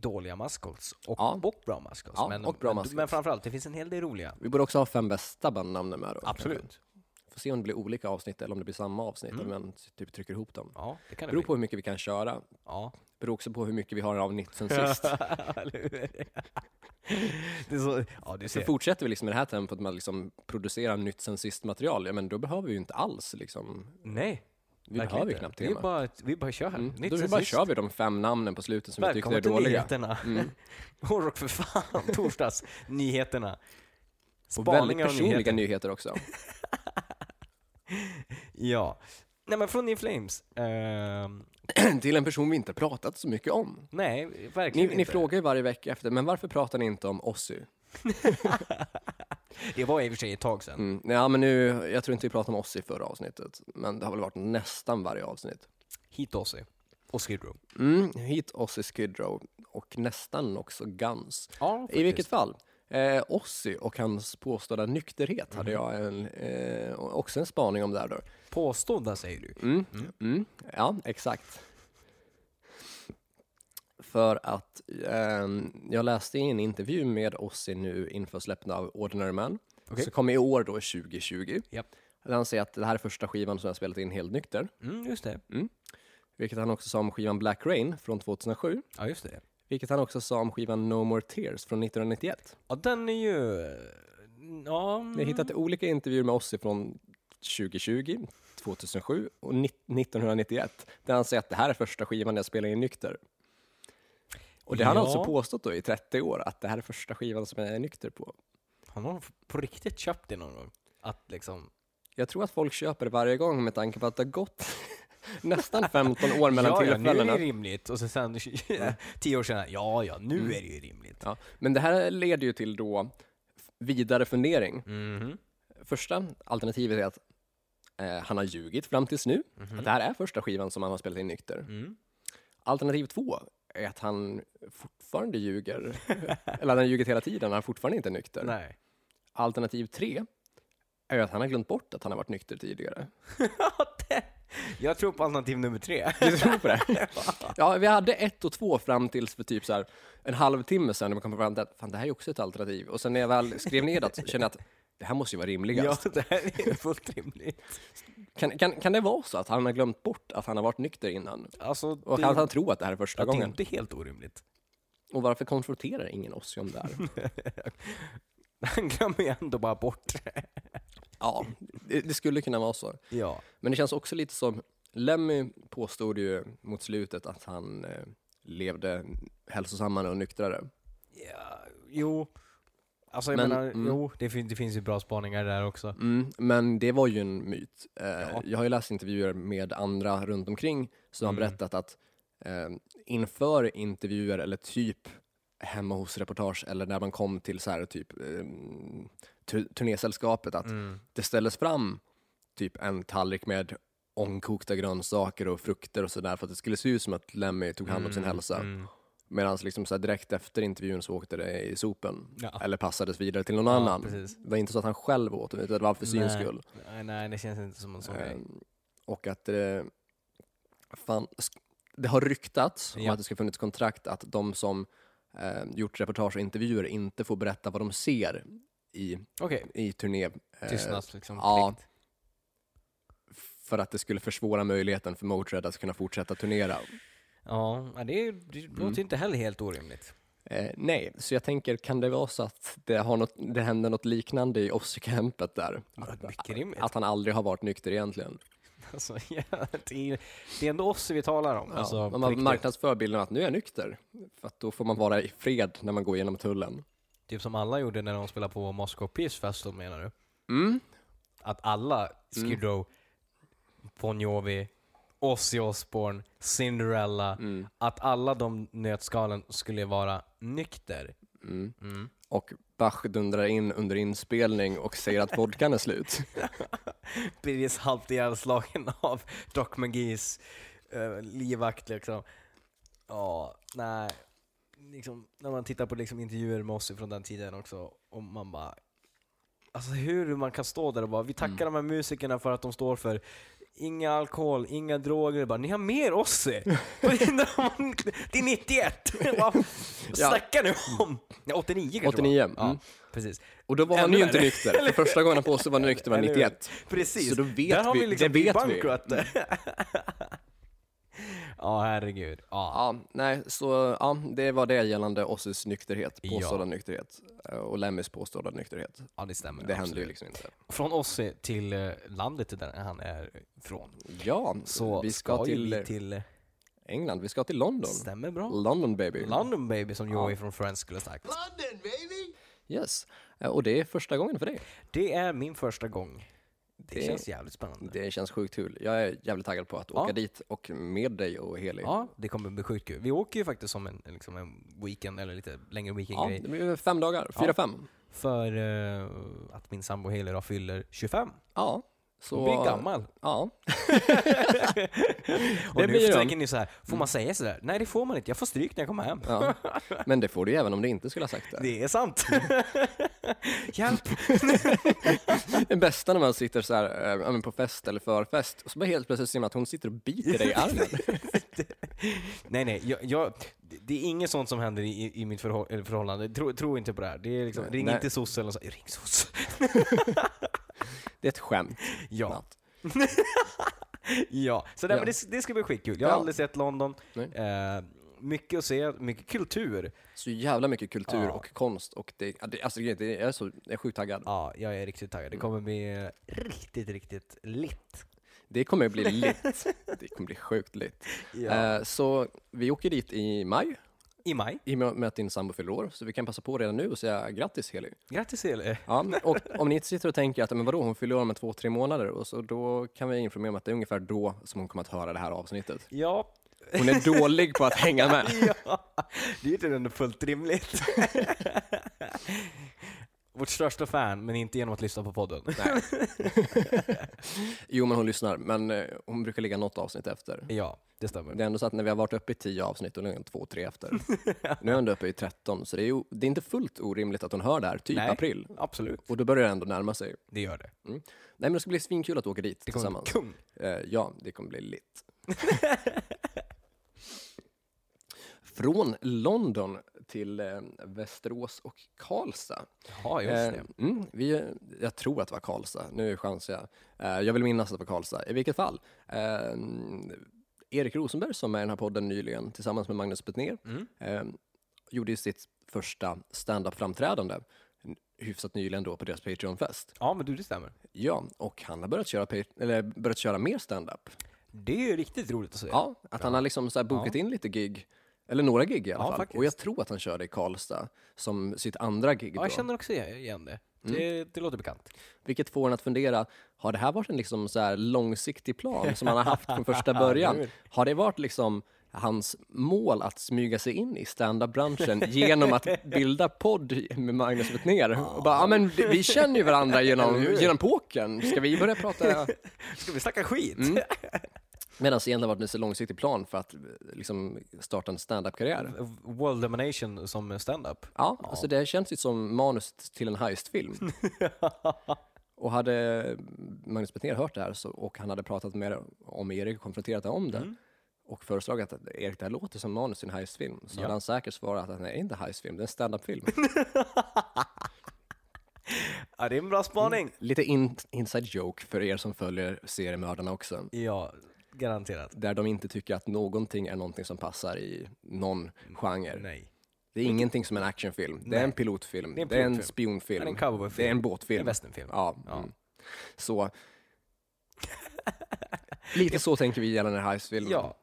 dåliga maskots och, Ja. och bra maskots. Ja, men, och bra men, maskots. men framförallt, det finns en hel del roliga. Vi borde också ha fem bästa bandnamnen med då. kanske. Får se om det blir olika avsnitt eller om det blir samma avsnitt, Mm. om man typ trycker ihop dem. Ja, det kan Det det beror bli. på hur mycket vi kan köra, Ja. beror också på hur mycket vi har avsnitt sen sist. Eller hur? Det är så, ja, du Så ser. fortsätter vi liksom i det här tempot med att liksom producera nytt sen sist material, ja men då behöver vi ju inte alls liksom, Nej, vi verkligen behöver ju inte. knappt Vi tema. bara, vi bara kör. Mm. Nytt Då sen bara sist. kör vi de fem namnen på slutet som vi tyckte är Välkommen till dåliga. nyheterna. Mm. Hårdrock för fan, torsdags. nyheterna. Och väldigt Spaningar och personliga nyheter. nyheter, också. Ja. Nej men från In Flames. Ehm, till en person vi inte pratat så mycket om. nej, verkligen Ni, inte. ni frågar ju varje vecka efter, men varför pratar ni inte om Ozzy? Det var i och för sig ett tag sedan. Mm. Ja, men nu, jag tror inte vi pratade om Ozzy i förra avsnittet, men det har väl varit nästan varje avsnitt. Hit Ozzy. Och Skid Row. Mm. Hit Ozzy Skid Row och nästan också Guns. Ja, I vilket fall, eh, Ozzy och hans påstådda nykterhet hade Mhm. jag en, eh, också en spaning om där då. Påstådda säger du. Mm. Mm. Ja, exakt. För att ehm, jag läste i en intervju med Ozzy nu inför släppet av Ordinary Man, Okej. som kom i år då 2020. Japp. Där han säger att det här är första skivan som jag spelat in helt nykter, Mm, just det. vilket han också sa om skivan Black Rain från 2007, Ja, just det. vilket han också sa om skivan No More Tears från 1991. Ja, den är ju... eh, Ja, mm. Jag har hittat olika intervjuer med Ozzy från 2020, 2007 och ni- 1991 där han säger att det här är första skivan jag spelar in nykter. Och det har han Ja. alltså påstått då i 30 år, att det här är första skivan som jag är nykter på. Har någon på riktigt köpt det någon gång? Att liksom... Jag tror att folk köper det varje gång med tanke på att det har gått nästan 15 år mellan ja, ja, nu är tillfällena. Mm. det rimligt. Och så sen tio år senare, ja, ja, nu är det ju rimligt. ja. Men det här leder ju till då vidare fundering. Mhm. Första alternativet är att eh, han har ljugit fram tills nu, att det här är första skivan som han har spelat in nykter. Mhm. Mm. Alternativ två är att han fortfarande ljuger. Eller han har ljugit hela tiden, han är fortfarande inte nykter. Nej. Alternativ tre är att han har glömt bort att han har varit nykter tidigare. Jag tror på alternativ nummer tre. Du tror på det? Ja, vi hade ett och två fram tills för typ så här en halvtimme sedan när man kom fram till att fan, det här är också ett alternativ. Och sen när jag väl skrev ner det så kände jag att det här måste ju vara Ja, rimligast. det här är ju fullt rimligt. Kan, kan, kan det vara så att han har glömt bort att han har varit nykter innan? Alltså, Och det, att han tror att det här är första det är gången? inte helt orimligt. Och varför konfronterar ingen oss om det här? Han glömmer ju ändå bara bort Ja, det, det skulle kunna vara så. Ja. Men det känns också lite som, Lemmy påstod ju mot slutet att han eh, levde hälsosammare och nyktrare. ja jo. Alltså jag Men, menar, mm. jo, det, fin- det finns ju bra spaningar där också. Mm, men det var ju en myt. Eh, Ja. Jag har ju läst intervjuer med andra runt omkring som har Mm. berättat att eh, inför intervjuer eller typ hemma hos reportage eller när man kom till så här typ eh, tu- turnésällskapet att Mm. det ställdes fram typ en tallrik med ångkokta grönsaker och frukter och sådär för att det skulle se ut som att Lemmy tog hand om sin hälsa. Mm. Medan liksom så här direkt efter intervjun så åkte det i sopen. Ja. Eller passades vidare till någon Ja, annan. precis. Det var inte så att han själv åt den, utan det var för syns Nej. skull. Nej, nej, det känns inte som en sån grej. Ehm, och att det, fan, sk- det har ryktats om Ja. att det ska funnits kontrakt att de som eh, gjort reportage och intervjuer inte får berätta vad de ser i, Okej, i turné. eh, tystnads liksom. ja. plikt. för att det skulle försvåra möjligheten för Motörhead att kunna fortsätta turnera. Ja, ja, det, är- det Mm. låter ju inte heller helt orimligt. Eh, nej, så jag tänker, kan det vara så att det, har något, det händer något liknande i Ozzy-campet där? Ja, Mycket rimligt. Att han aldrig har varit nykter egentligen. Alltså, ja, det, är, det är ändå oss vi talar om. Alltså, ja, på man man riktigt. marknadsför bilden att nu är jag nykter, för att då får man vara i fred när man går genom tullen. Typ som alla gjorde när de spelade på Moscow Peace Festival menar du? Mm. Att alla Skid Row, Bon Jovi, Ozzy Osbourne, Cinderella, Mm. att alla de nötskalen skulle vara nykter. Mm. Och Bach dundrar in under inspelning och säger att vodkan är slut. Birgis halvt ihjälslagen av Doc McGees eh, livvakt liksom. Ja, nej. Liksom, när man tittar på liksom, intervjuer med oss från den tiden också, och man bara... Alltså hur man kan stå där och bara, vi Mm. tackar de här musikerna för att de står för inga alkohol, inga droger, bara, ni har mer Ozzy! Och det är- det är 91! Vad Ja. snackar ni om? Ja, 89 kanske det var. 89, mm. Ja, precis. Och då var han Ännu ju inte värre. nykter. För första gången han påstod var nykter var Eller hur? 91. Precis. Så då vet Där har vi- Mm. vi liksom det vet vi. debunkrat det. Ja, herregud. Ja. Ja, nej, så ja, det var det gällande Osses nykterhet, Ja. påstådda nykterhet eh, och Lemmys påstådda nykterhet. ja, det stämmer. det händer ju absolut. liksom inte. Från oss till eh, landet där han är från. Ja, Så vi ska, till, Mm. ju vi till... England, vi ska till London. Stämmer bra. London baby. London baby som Joey från Friends skulle ha sagt. Yes, Eh, och det är första gången för dig. Det är min första gång. Det, Det- känns jävligt spännande. Det känns sjukt kul. Jag är jävligt taggad på att Ja. åka dit och med dig och Heli. Ja, det kommer bli sjukt kul. Vi åker ju faktiskt som en, liksom en weekend, eller lite längre Ja, weekendgrej, det blir fem dagar, fyra, fem. för eh, att min sambo Heli idag fyller 25. Ja, så... Hon blir gammal. Ja, Och nu Det blir Mm. för hon. tiden är det så här, får man säga sådär? Nej det får man inte, jag får stryk när jag kommer hem. ja. Men det får du ju även om du inte skulle ha sagt det. Det är sant. Hjälp! Det bästa när man sitter så här, eh, ja, men på fest eller förfest, och så bara helt plötsligt ser man att hon sitter och biter dig i armen. Nej nej, jag, jag, det det är inget sånt som händer i, i mitt förhå- eller förhållande. Tro, tro inte på det här. Det är liksom, Nej. ring Nej. inte soc eller så. Ring soc. Det är ett skämt. Ja. Natt. ja. Så där, Ja. Men det, det ska bli skitkul. Jag har Ja. aldrig sett London. Nej. Eh, mycket att se, mycket kultur. Så jävla mycket kultur Ja. och konst och det, ja, det alltså grejen är, jag är så, jag är sjukt taggad. Ja, jag är riktigt taggad. Det kommer bli eh, riktigt, riktigt litt. Det kommer bli lit. Det kommer bli sjukt lit. Eh, Så vi åker dit i maj, I maj. i och med att din sambo fyller år, så vi kan passa på redan nu och säga grattis Heli. Grattis Eli. Ja, och om ni inte sitter och tänker att men vadå, hon fyller år om två, tre månader, och så då kan vi informera om att det är ungefär då som hon kommer att höra det här avsnittet. Ja. Hon är dålig på att hänga med. ja. Det är ju inte ändå fullt rimligt. Vårt största fan, men inte genom att lyssna på podden. Nej. jo, men hon lyssnar, men eh, hon brukar ligga något avsnitt efter. Ja, det stämmer. Det är ändå så att när vi har varit uppe i tio avsnitt, och ligger hon två, tre efter. Nu är hon uppe i 13, så det är, ju, det är inte fullt orimligt att hon hör det här, typ Nej. april. Absolut, Och då börjar det ändå närma sig. det gör det. Nej, men det ska bli svinkul att åka dit Det kommer bli tillsammans. kung. Eh, ja, det kommer bli lit. Från London till eh, Västerås och Karlstad. Ja, just Eh, det. mm, vi, jag tror att det var Karlstad, nu chansar jag. Eh, jag vill minnas att det var Karlstad. I vilket fall, eh, Erik Rosenberg som är i den här podden nyligen tillsammans med Magnus Betnér Mm. eh, gjorde ju sitt första stand-up-framträdande n- hyfsat nyligen då på deras Patreon-fest. Ja, men du, det stämmer. Ja, och han har börjat köra, pa- eller börjat köra mer stand-up. Det är ju riktigt roligt att se. Ja, att han har liksom så här bokat in lite gig, eller några gig i alla Ja, fall. faktiskt. Och jag tror att han körde i Karlstad som sitt andra gig Ja, då. jag känner också igen det. Det, det låter bekant. Vilket får en att fundera, har det här varit en liksom så här långsiktig plan som han har haft från första början? Har det varit liksom hans mål att smyga sig in i standardbranschen genom att bilda podd med Magnus Betnér? Och bara, ja men vi känner ju varandra genom, genom pokern, ska vi börja prata Ska vi snacka skit? Medan det egentligen varit en så långsiktig plan för att eh, liksom, starta en stand-up-karriär. World domination som stand-up. Ja, Alltså det känns ju som manus till en heistfilm. och hade Magnus Betnér hört det här så, och han hade pratat med om Erik och konfronterat honom om det Mm. och föreslagit att Erik, det här låter som manus till en heistfilm, så hade han säkert svarat att det är inte en heistfilm, det är en stand-up-film. Ja, det är en bra spaning. Lite in, inside joke för er som följer seriemördarna också. Ja, garanterat. Där de inte tycker att någonting är någonting som passar i någon genre. Nej. Det är ingenting som en actionfilm. Det är en pilotfilm. Det är en, pilotfilm. spionfilm. Det är en cowboyfilm. Det Det är en är en båtfilm. westernfilm. ja. Mm. Så. Lite så tänker vi gällande Heist-filmen. Ja.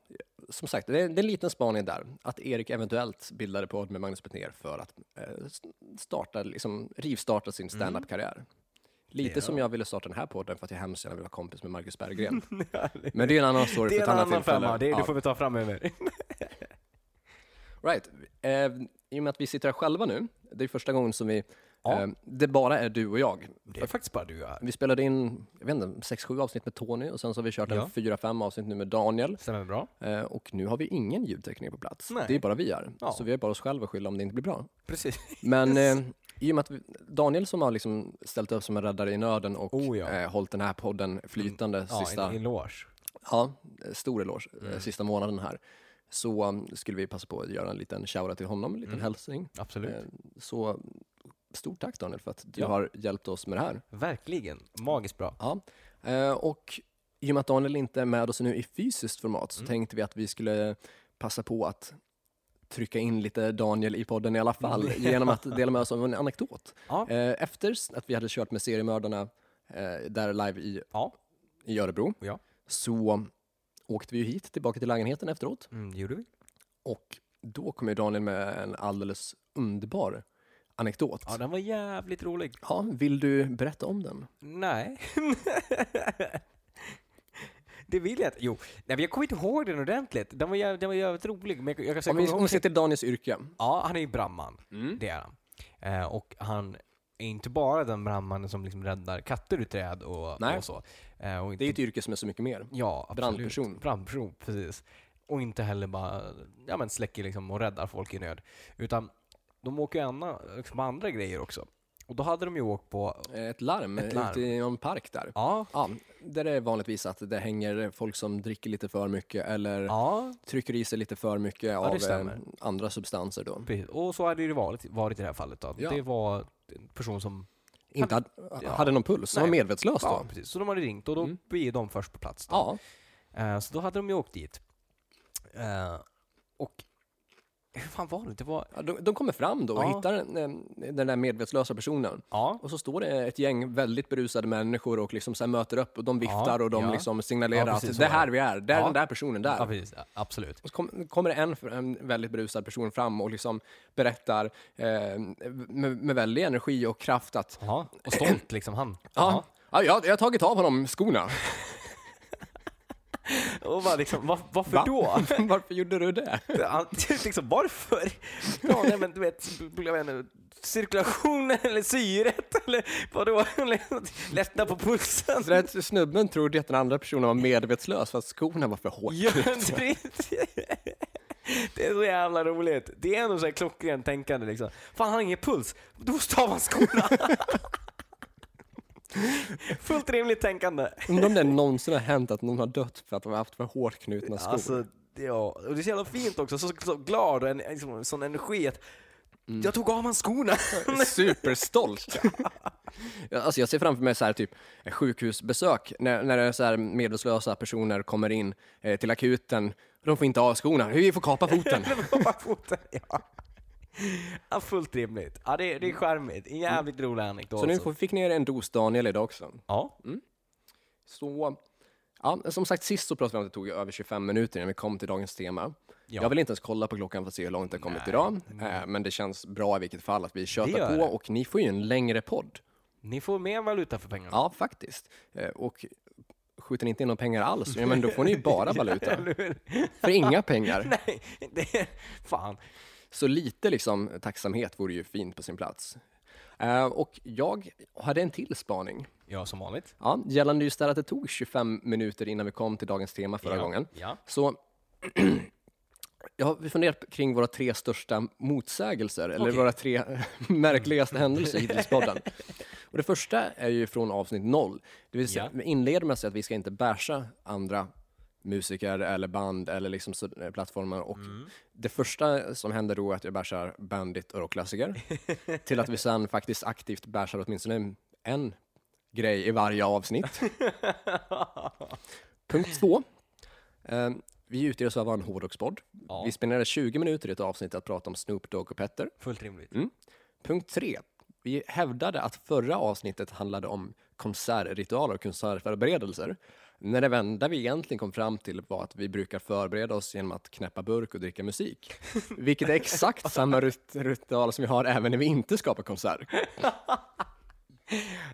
Som sagt, det är, det är en liten spaning där. Att Erik eventuellt bildade podd med Magnus Betnér för att eh, s- starta, liksom, rivstarta sin standup-karriär. Lite Mm. Ja. som jag ville starta den här podden för att jag hemskt gärna vill vara kompis med Marcus Berggren. Men det är en annan story Det för är ett en annat annan tillfälle. femma, det, Ja. det får vi ta framöver. Right. Eh, I och med att vi sitter här själva nu, det är första gången som vi, Ja. eh, det bara är du och jag. Det är faktiskt bara du och jag. Vi spelade in, jag vet inte, 6-7 avsnitt med Tony och sen så har vi kört Ja. en 4-5 avsnitt nu med Daniel. Stämmer bra. Eh, och nu har vi ingen ljudtekniker på plats. Nej. Det är bara vi här. Ja. Så vi har bara oss själva att skylla om det inte blir bra. Precis. Men eh, i och med att vi, Daniel som har liksom ställt upp som en räddare i nöden och Oh, ja. Mm. eh, hållit den här podden flytande sista Ja, en Mm. eloge. Ja, eh, stor eloge, eh, sista månaden här. Så um, skulle vi passa på att göra en liten shoutout till honom, en liten hälsning. Mm. Absolut. Eh, Så stort tack Daniel för att du Ja. har hjälpt oss med det här. Verkligen. Magiskt bra. Ja. Eh, Och i och med att Daniel inte är med oss nu i fysiskt format så Mm. tänkte vi att vi skulle passa på att trycka in lite Daniel i podden i alla fall genom att dela med oss av en anekdot. Mm. Ja. Eh, Efter att vi hade kört med seriemördarna eh, där live i, Ja. i Örebro Ja. så åkte vi ju hit tillbaka till lägenheten efteråt Mm, det gjorde vi. och då kom ju Daniel med en alldeles underbar anekdot. Ja, den var jävligt rolig. Ja, vill du berätta om den? Nej. det vill jag inte. Jo, Nej, men jag kommer inte ihåg den ordentligt. Den var jävligt, den var jävligt rolig. Men jag, jag kan säga, Om vi, om vi ser till Daniels yrke. Ja, han är ju brandman. Det är han. Eh, och han är inte bara den brandmannen som liksom räddar katter ur träd och, Nej. och så. Eh, och inte, Det är ju ett yrke som är så mycket mer. ja, absolut. brandperson. Brandperson, precis. Och inte heller bara ja, men släcker liksom och räddar folk i nöd. Utan de åker ju andra, liksom andra grejer också. Och då hade de ju åkt på... Eh, Ett larm, Ett larm. ute i någon park där. Ja, Ja, där är det vanligtvis att det hänger folk som dricker lite för mycket eller ja trycker i sig lite för mycket det av eh, stämmer. andra substanser då. Precis. Och så hade det varit, varit i det här fallet. Då. Ja. Det var en person som... Inte hade, hade någon puls, som Nej. var medvetslös Ja, då. precis. Så de hade ringt och då Mm. blir de först på plats. Då. Ja, Eh, så då hade de ju åkt dit. Eh, och... Hur fan var det? Det var... Ja, de, de kommer fram då och Ja. hittar eh, den där medvetslösa personen. Ja. Och så står det ett gäng väldigt berusade människor och liksom så här möter upp och de viftar Ja, och de ja. liksom signalerar Ja, precis, att så det är var det. här vi är, det är Ja. den där personen där. ja, precis. Ja, Absolut. Och så kom, kommer det en, en väldigt berusad person fram och liksom berättar eh, med, med väldig energi och kraft att Ja. Och stolt liksom han. ja, ja. jag, jag har tagit av honom skorna. Ja. Och bara liksom, var, varför Va? då? Varför gjorde du det? Han, liksom, varför? Ja, nej, men du vet, jag vet inte, cirkulationen eller syret eller vadå? Lättnad på pulsen. Så den här Alltså, snubben trodde att den andra personen var medvetslös för att skorna var för hårt. Ja, precis. Det är så jävla roligt. Det är ändå så här klockrent tänkande liksom. Fan, han har ingen puls. Då måste man skorna. Fullt rimligt tänkande. Undrar om det någonsin har hänt att någon har dött för att de har haft för hårt knutna skor. Alltså, det- ja. Och det är så jävla fint också. Så, så glad och en, liksom, sån energi att jag tog av hans skorna. Superstolt! Ja, alltså jag ser framför mig så här typ sjukhusbesök när, när det är så här medvetslösa personer kommer in eh, till akuten. De får inte av skorna. Vi får kapa foten. Det var bara foten, ja. Ja, fullt rimligt. Ja, det, det är charmigt. En jävligt rolig anekdot. Så nu alltså. får- Mm. fick ni er en dos Daniel idag också. Ja, Så, ja, som sagt sist så pratade vi om att det tog över 25 minuter innan vi kom till dagens tema. Ja. Jag vill inte ens kolla på klockan för att se hur långt det har kommit idag. Eh, Men det känns bra i vilket fall att vi gör tjötar på det. och ni får ju en längre podd. ni får mer valuta för pengarna. Ja, faktiskt. Eh, Och skjuter ni inte in några pengar alls, ja, men då får ni ju bara valuta. Eller hur? För inga pengar. Nej, det är... Fan. Så lite liksom tacksamhet vore ju fint på sin plats. Eh, Och jag hade en till spaning. Ja, som vanligt. Ja, gällande just det här att det tog 25 minuter innan vi kom till dagens tema förra ja. gången. Ja. Så jag har funderat kring våra tre största motsägelser, eller Okej. våra tre märkligaste händelser hittills i podden. Och det första är ju från avsnitt noll. Det vill säga, Ja. vi inleder med att säga att vi ska inte basha andra musiker eller band eller liksom så, eh, plattformar. Och Mm. Det första som händer då är att jag bashar Bandit och rockklassiker. till att vi sen faktiskt aktivt bashar åtminstone en grej i varje avsnitt. Punkt två. Eh, vi utger oss för att vara en hårdrockspodd. Ja. Vi spenderade 20 minuter i ett avsnitt att prata om Snoop Dogg och Petter. Fullt rimligt. Mm. Punkt tre. Vi hävdade att förra avsnittet handlade om konsertritualer och konsertförberedelser. När det enda vi egentligen kom fram till var att vi brukar förbereda oss genom att knäppa burk och dricka musik. Vilket är exakt samma rut- ritual som vi har även när vi inte skapar konsert.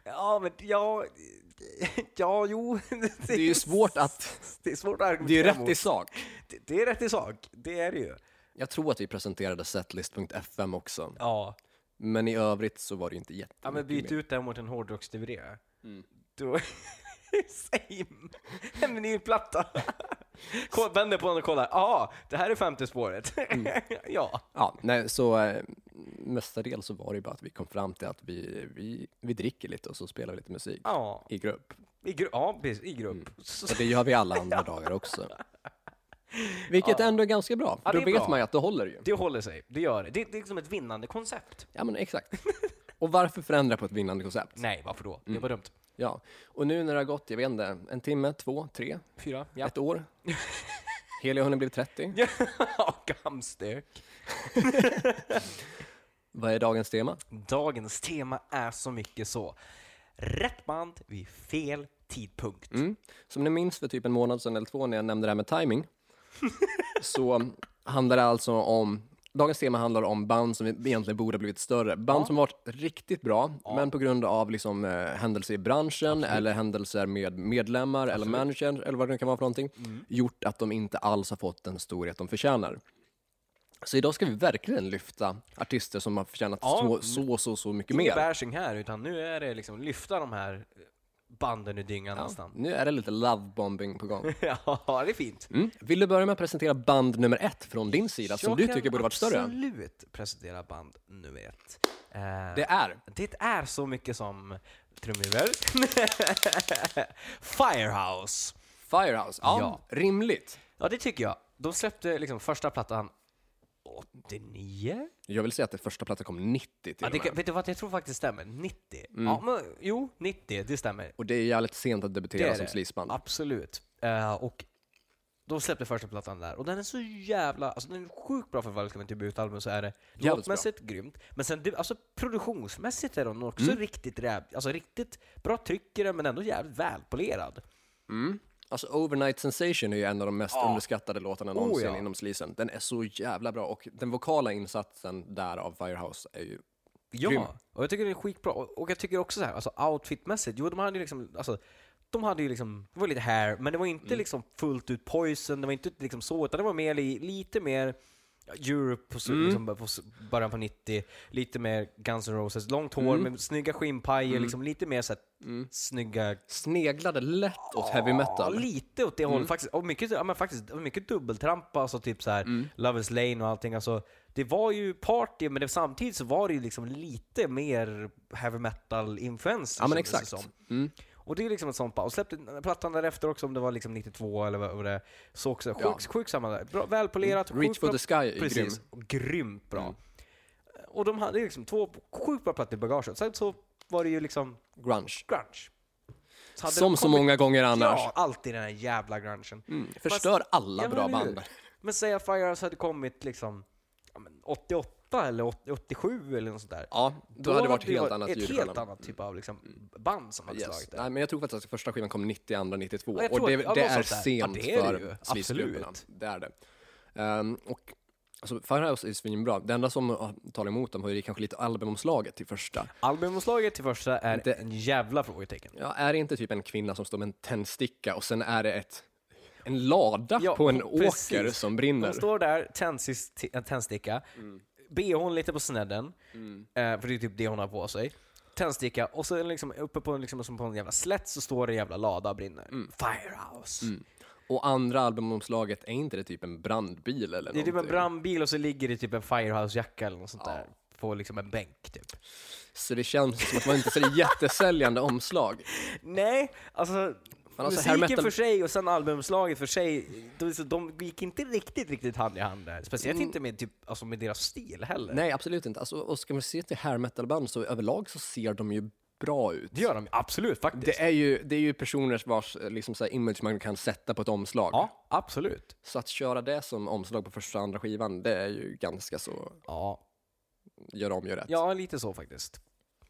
Ja, men ja... Ja, jo. Det är ju svårt att... Det är svårt att Det är ju argumentera rätt i sak. Det, det är rätt i sak. Det är det ju. Jag tror att vi presenterade setlist.fm också. Ja. Men i övrigt så var det ju inte jättemycket Ja, men byt mer. ut det mot en hårdrocks-DVD. Då... Same. En vinylplatta. Kolla- Vänder på den och kollar. Ja, det här är femte spåret. ja. Ja, nej, så eh, mestadels så var det ju bara att vi kom fram till att vi, vi, vi dricker lite och så spelar vi lite musik Ja, i grupp. i, gru- ja, precis, i grupp. Så- Och det gör vi alla andra dagar också. Vilket ändå är ganska bra, för Ja, det då är vet bra. man ju att det håller ju. Det håller sig. Det gör det. Det, det är liksom ett vinnande koncept. Ja, men exakt. Och varför förändra på ett vinnande koncept? Mm. Nej, varför då? Det var dumt. Ja, och nu när det har gått, jag vet inte, en timme, två, tre, Fyra. ett år. Heli har hunnit bli 30. Gamstök. Vad är dagens tema? Dagens tema är så mycket så. Rätt band vid fel tidpunkt. Mm. Som ni minns för typ en månad sedan eller två när jag nämnde det här med timing. så handlar det alltså om, dagens tema handlar om band som egentligen borde ha blivit större. Band som varit riktigt bra, men på grund av liksom, eh, händelser i branschen eller händelser med medlemmar eller manager eller vad det nu kan vara för någonting, Mm. gjort att de inte alls har fått den storhet de förtjänar. Så idag ska vi verkligen lyfta artister som har förtjänat Ja, så, så, så, så mycket Ingen mer. bashing här, utan nu är det liksom lyfta de här banden ur dyngan nästan. Nu är det lite lovebombing på gång. Ja, det är fint. Mm. Vill du börja med att presentera band nummer ett från din sida som Jag du kan tycker borde varit större? absolut presentera band nummer ett. Eh, Det är Det är så mycket som trumvirvel. Firehouse. Firehouse. Ja, Ja. rimligt. Ja, det tycker jag. De släppte liksom första plattan 89? Jag vill säga att det första plattan kom 90 till Ja, och det, med. kan- vet du vad, jag tror faktiskt det stämmer. 90. Mm. Ja, men, jo, 90, det stämmer. Och det är jävligt sent att Det är debutera som det. sleazeband. Absolut. Eh, och de släppte första plattan där och den är så jävla, alltså den är sjukt bra för att vara liksom ett debutalbum så är det bra. låtmässigt grymt. Men sen du, alltså produktionsmässigt är den också Mm. riktigt räv, alltså riktigt bra tryck i den men ändå jävligt välpolerad. Alltså Overnight Sensation är ju en av de mest underskattade låtarna någonsin Oh, ja. inom sleazen. Den är så jävla bra och den vokala insatsen där av Firehouse är ju... Ja, Grym. och jag tycker det är skitbra. Och och jag tycker också så här, alltså outfitmässigt, jo de hade ju liksom, alltså, de hade ju liksom, det var lite hair, men det var inte liksom fullt ut poison, det var inte liksom så, utan det var mer, li- lite mer Europe på, s- liksom, på s- början på 90, lite mer Guns N' Roses, långt hår med snygga skinnpajer, liksom lite mer så här, snygga Sneglade lätt åt heavy metal. Ja, lite åt det hållet Mm. faktiskt. Och mycket, ja, men faktiskt, och mycket dubbeltrampa, alltså typ så här, Mm. Love is Lane och allting. Alltså, det var ju party, men det, samtidigt så var det ju liksom lite mer heavy metal-influenser. Ja, men kändes det exakt. Mm. som. Och det är liksom ett sånt band. Och släppte plattan därefter också, om det var liksom 92 eller vad vad det är. Så också, sjuk, sjuk samma där. Bra, välpolerat. Mm. Reach sjukt for bra- the Sky är Mm. Precis. Grymt bra. Och de hade liksom två sjukt bra plattor i bagaget. Sen så var det ju liksom Grunge. grunge. Så hade Som det så kommit- många gånger annars. Ja, alltid den här jävla grungen. Förstör alla Ja, men Mm, bra eller band. hur? Men säg att Firehouse hade kommit liksom ja, men 88 eller 80 87 eller något sånt där. Ja, då, hade det varit helt varit annat ett ljud i helt skällan. annat typ av liksom band som hade Yes. slagit det. Nej, men jag tror faktiskt att första skivan kom 90, andra 92. Ja, jag och tror det, att- ja, det något är sånt där. sent Ja, det är det ju. för sleaze-grupperna. Absolut. Det är det. Ehm, och alltså, Firehouse är svinbra. Det enda som ah, talar emot dem var ju kanske lite albumomslaget till första. Albumomslaget till första är Inte- en jävla frågetecken. Ja, är det inte typ en kvinna som står med en tändsticka och sen är det ett, en lada Ja, på en precis. åker som brinner? De står där, tändsis- t- en tändsticka, Mm. bhn lite på snedden, eh, för det är typ det hon har på sig. Tändsticka, och så är det liksom uppe på en, liksom, som på en jävla slätt så står det en jävla lada och brinner. Mm. Firehouse. Och andra albumomslaget, är inte det typ en brandbil eller Det är typ en någonting? brandbil och så ligger det typ en Firehouse-jacka eller något sånt där på liksom en bänk typ. Så det känns som att man inte ser jättesäljande omslag. Nej, alltså alltså, musiken hair metal- för sig och sen albumslaget för sig, de, så de gick inte riktigt, riktigt hand i hand där. Speciellt inte med, typ, alltså med deras stil heller. Nej, absolut inte. Alltså, och ska man se till hair metal-band så överlag så ser de ju bra ut. Det gör de absolut faktiskt. Det är ju, det är ju personer vars eh, liksom, så här, image man kan sätta på ett omslag. Ja, absolut. Så att köra det som omslag på första och andra skivan, det är ju ganska så, Ja, gör om, gör rätt. Ja, lite så faktiskt.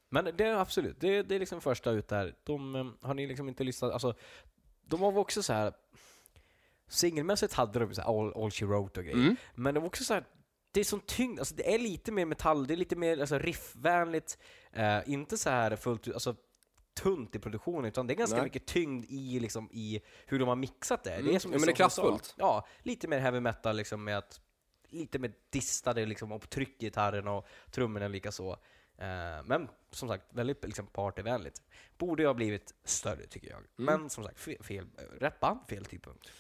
Men det är absolut, det, det är liksom första ut där. De eh, har ni liksom inte lyssnat, alltså de var väl också så här singelmässigt hade de så här all, all she wrote och grejer. Mm. Men de var också så här det är som tyngd, alltså det är lite mer metall, det är lite mer alltså, riffvänligt, eh, inte så här fullt ut- alltså tunt i produktionen utan det är ganska Nej. Mm. mycket tyngd i, liksom, i hur de har mixat det. Det är som Ja, men det som du sa. är kraftfullt. Ja, lite mer heavy metal liksom med att lite mer distade liksom och tryck i gitarren och trummorna lika så. Eh, men som sagt, väldigt liksom partyvänligt. Borde ju ha blivit större tycker Mm. jag. Men som sagt, fel, fel, rätt band, fel tidpunkt.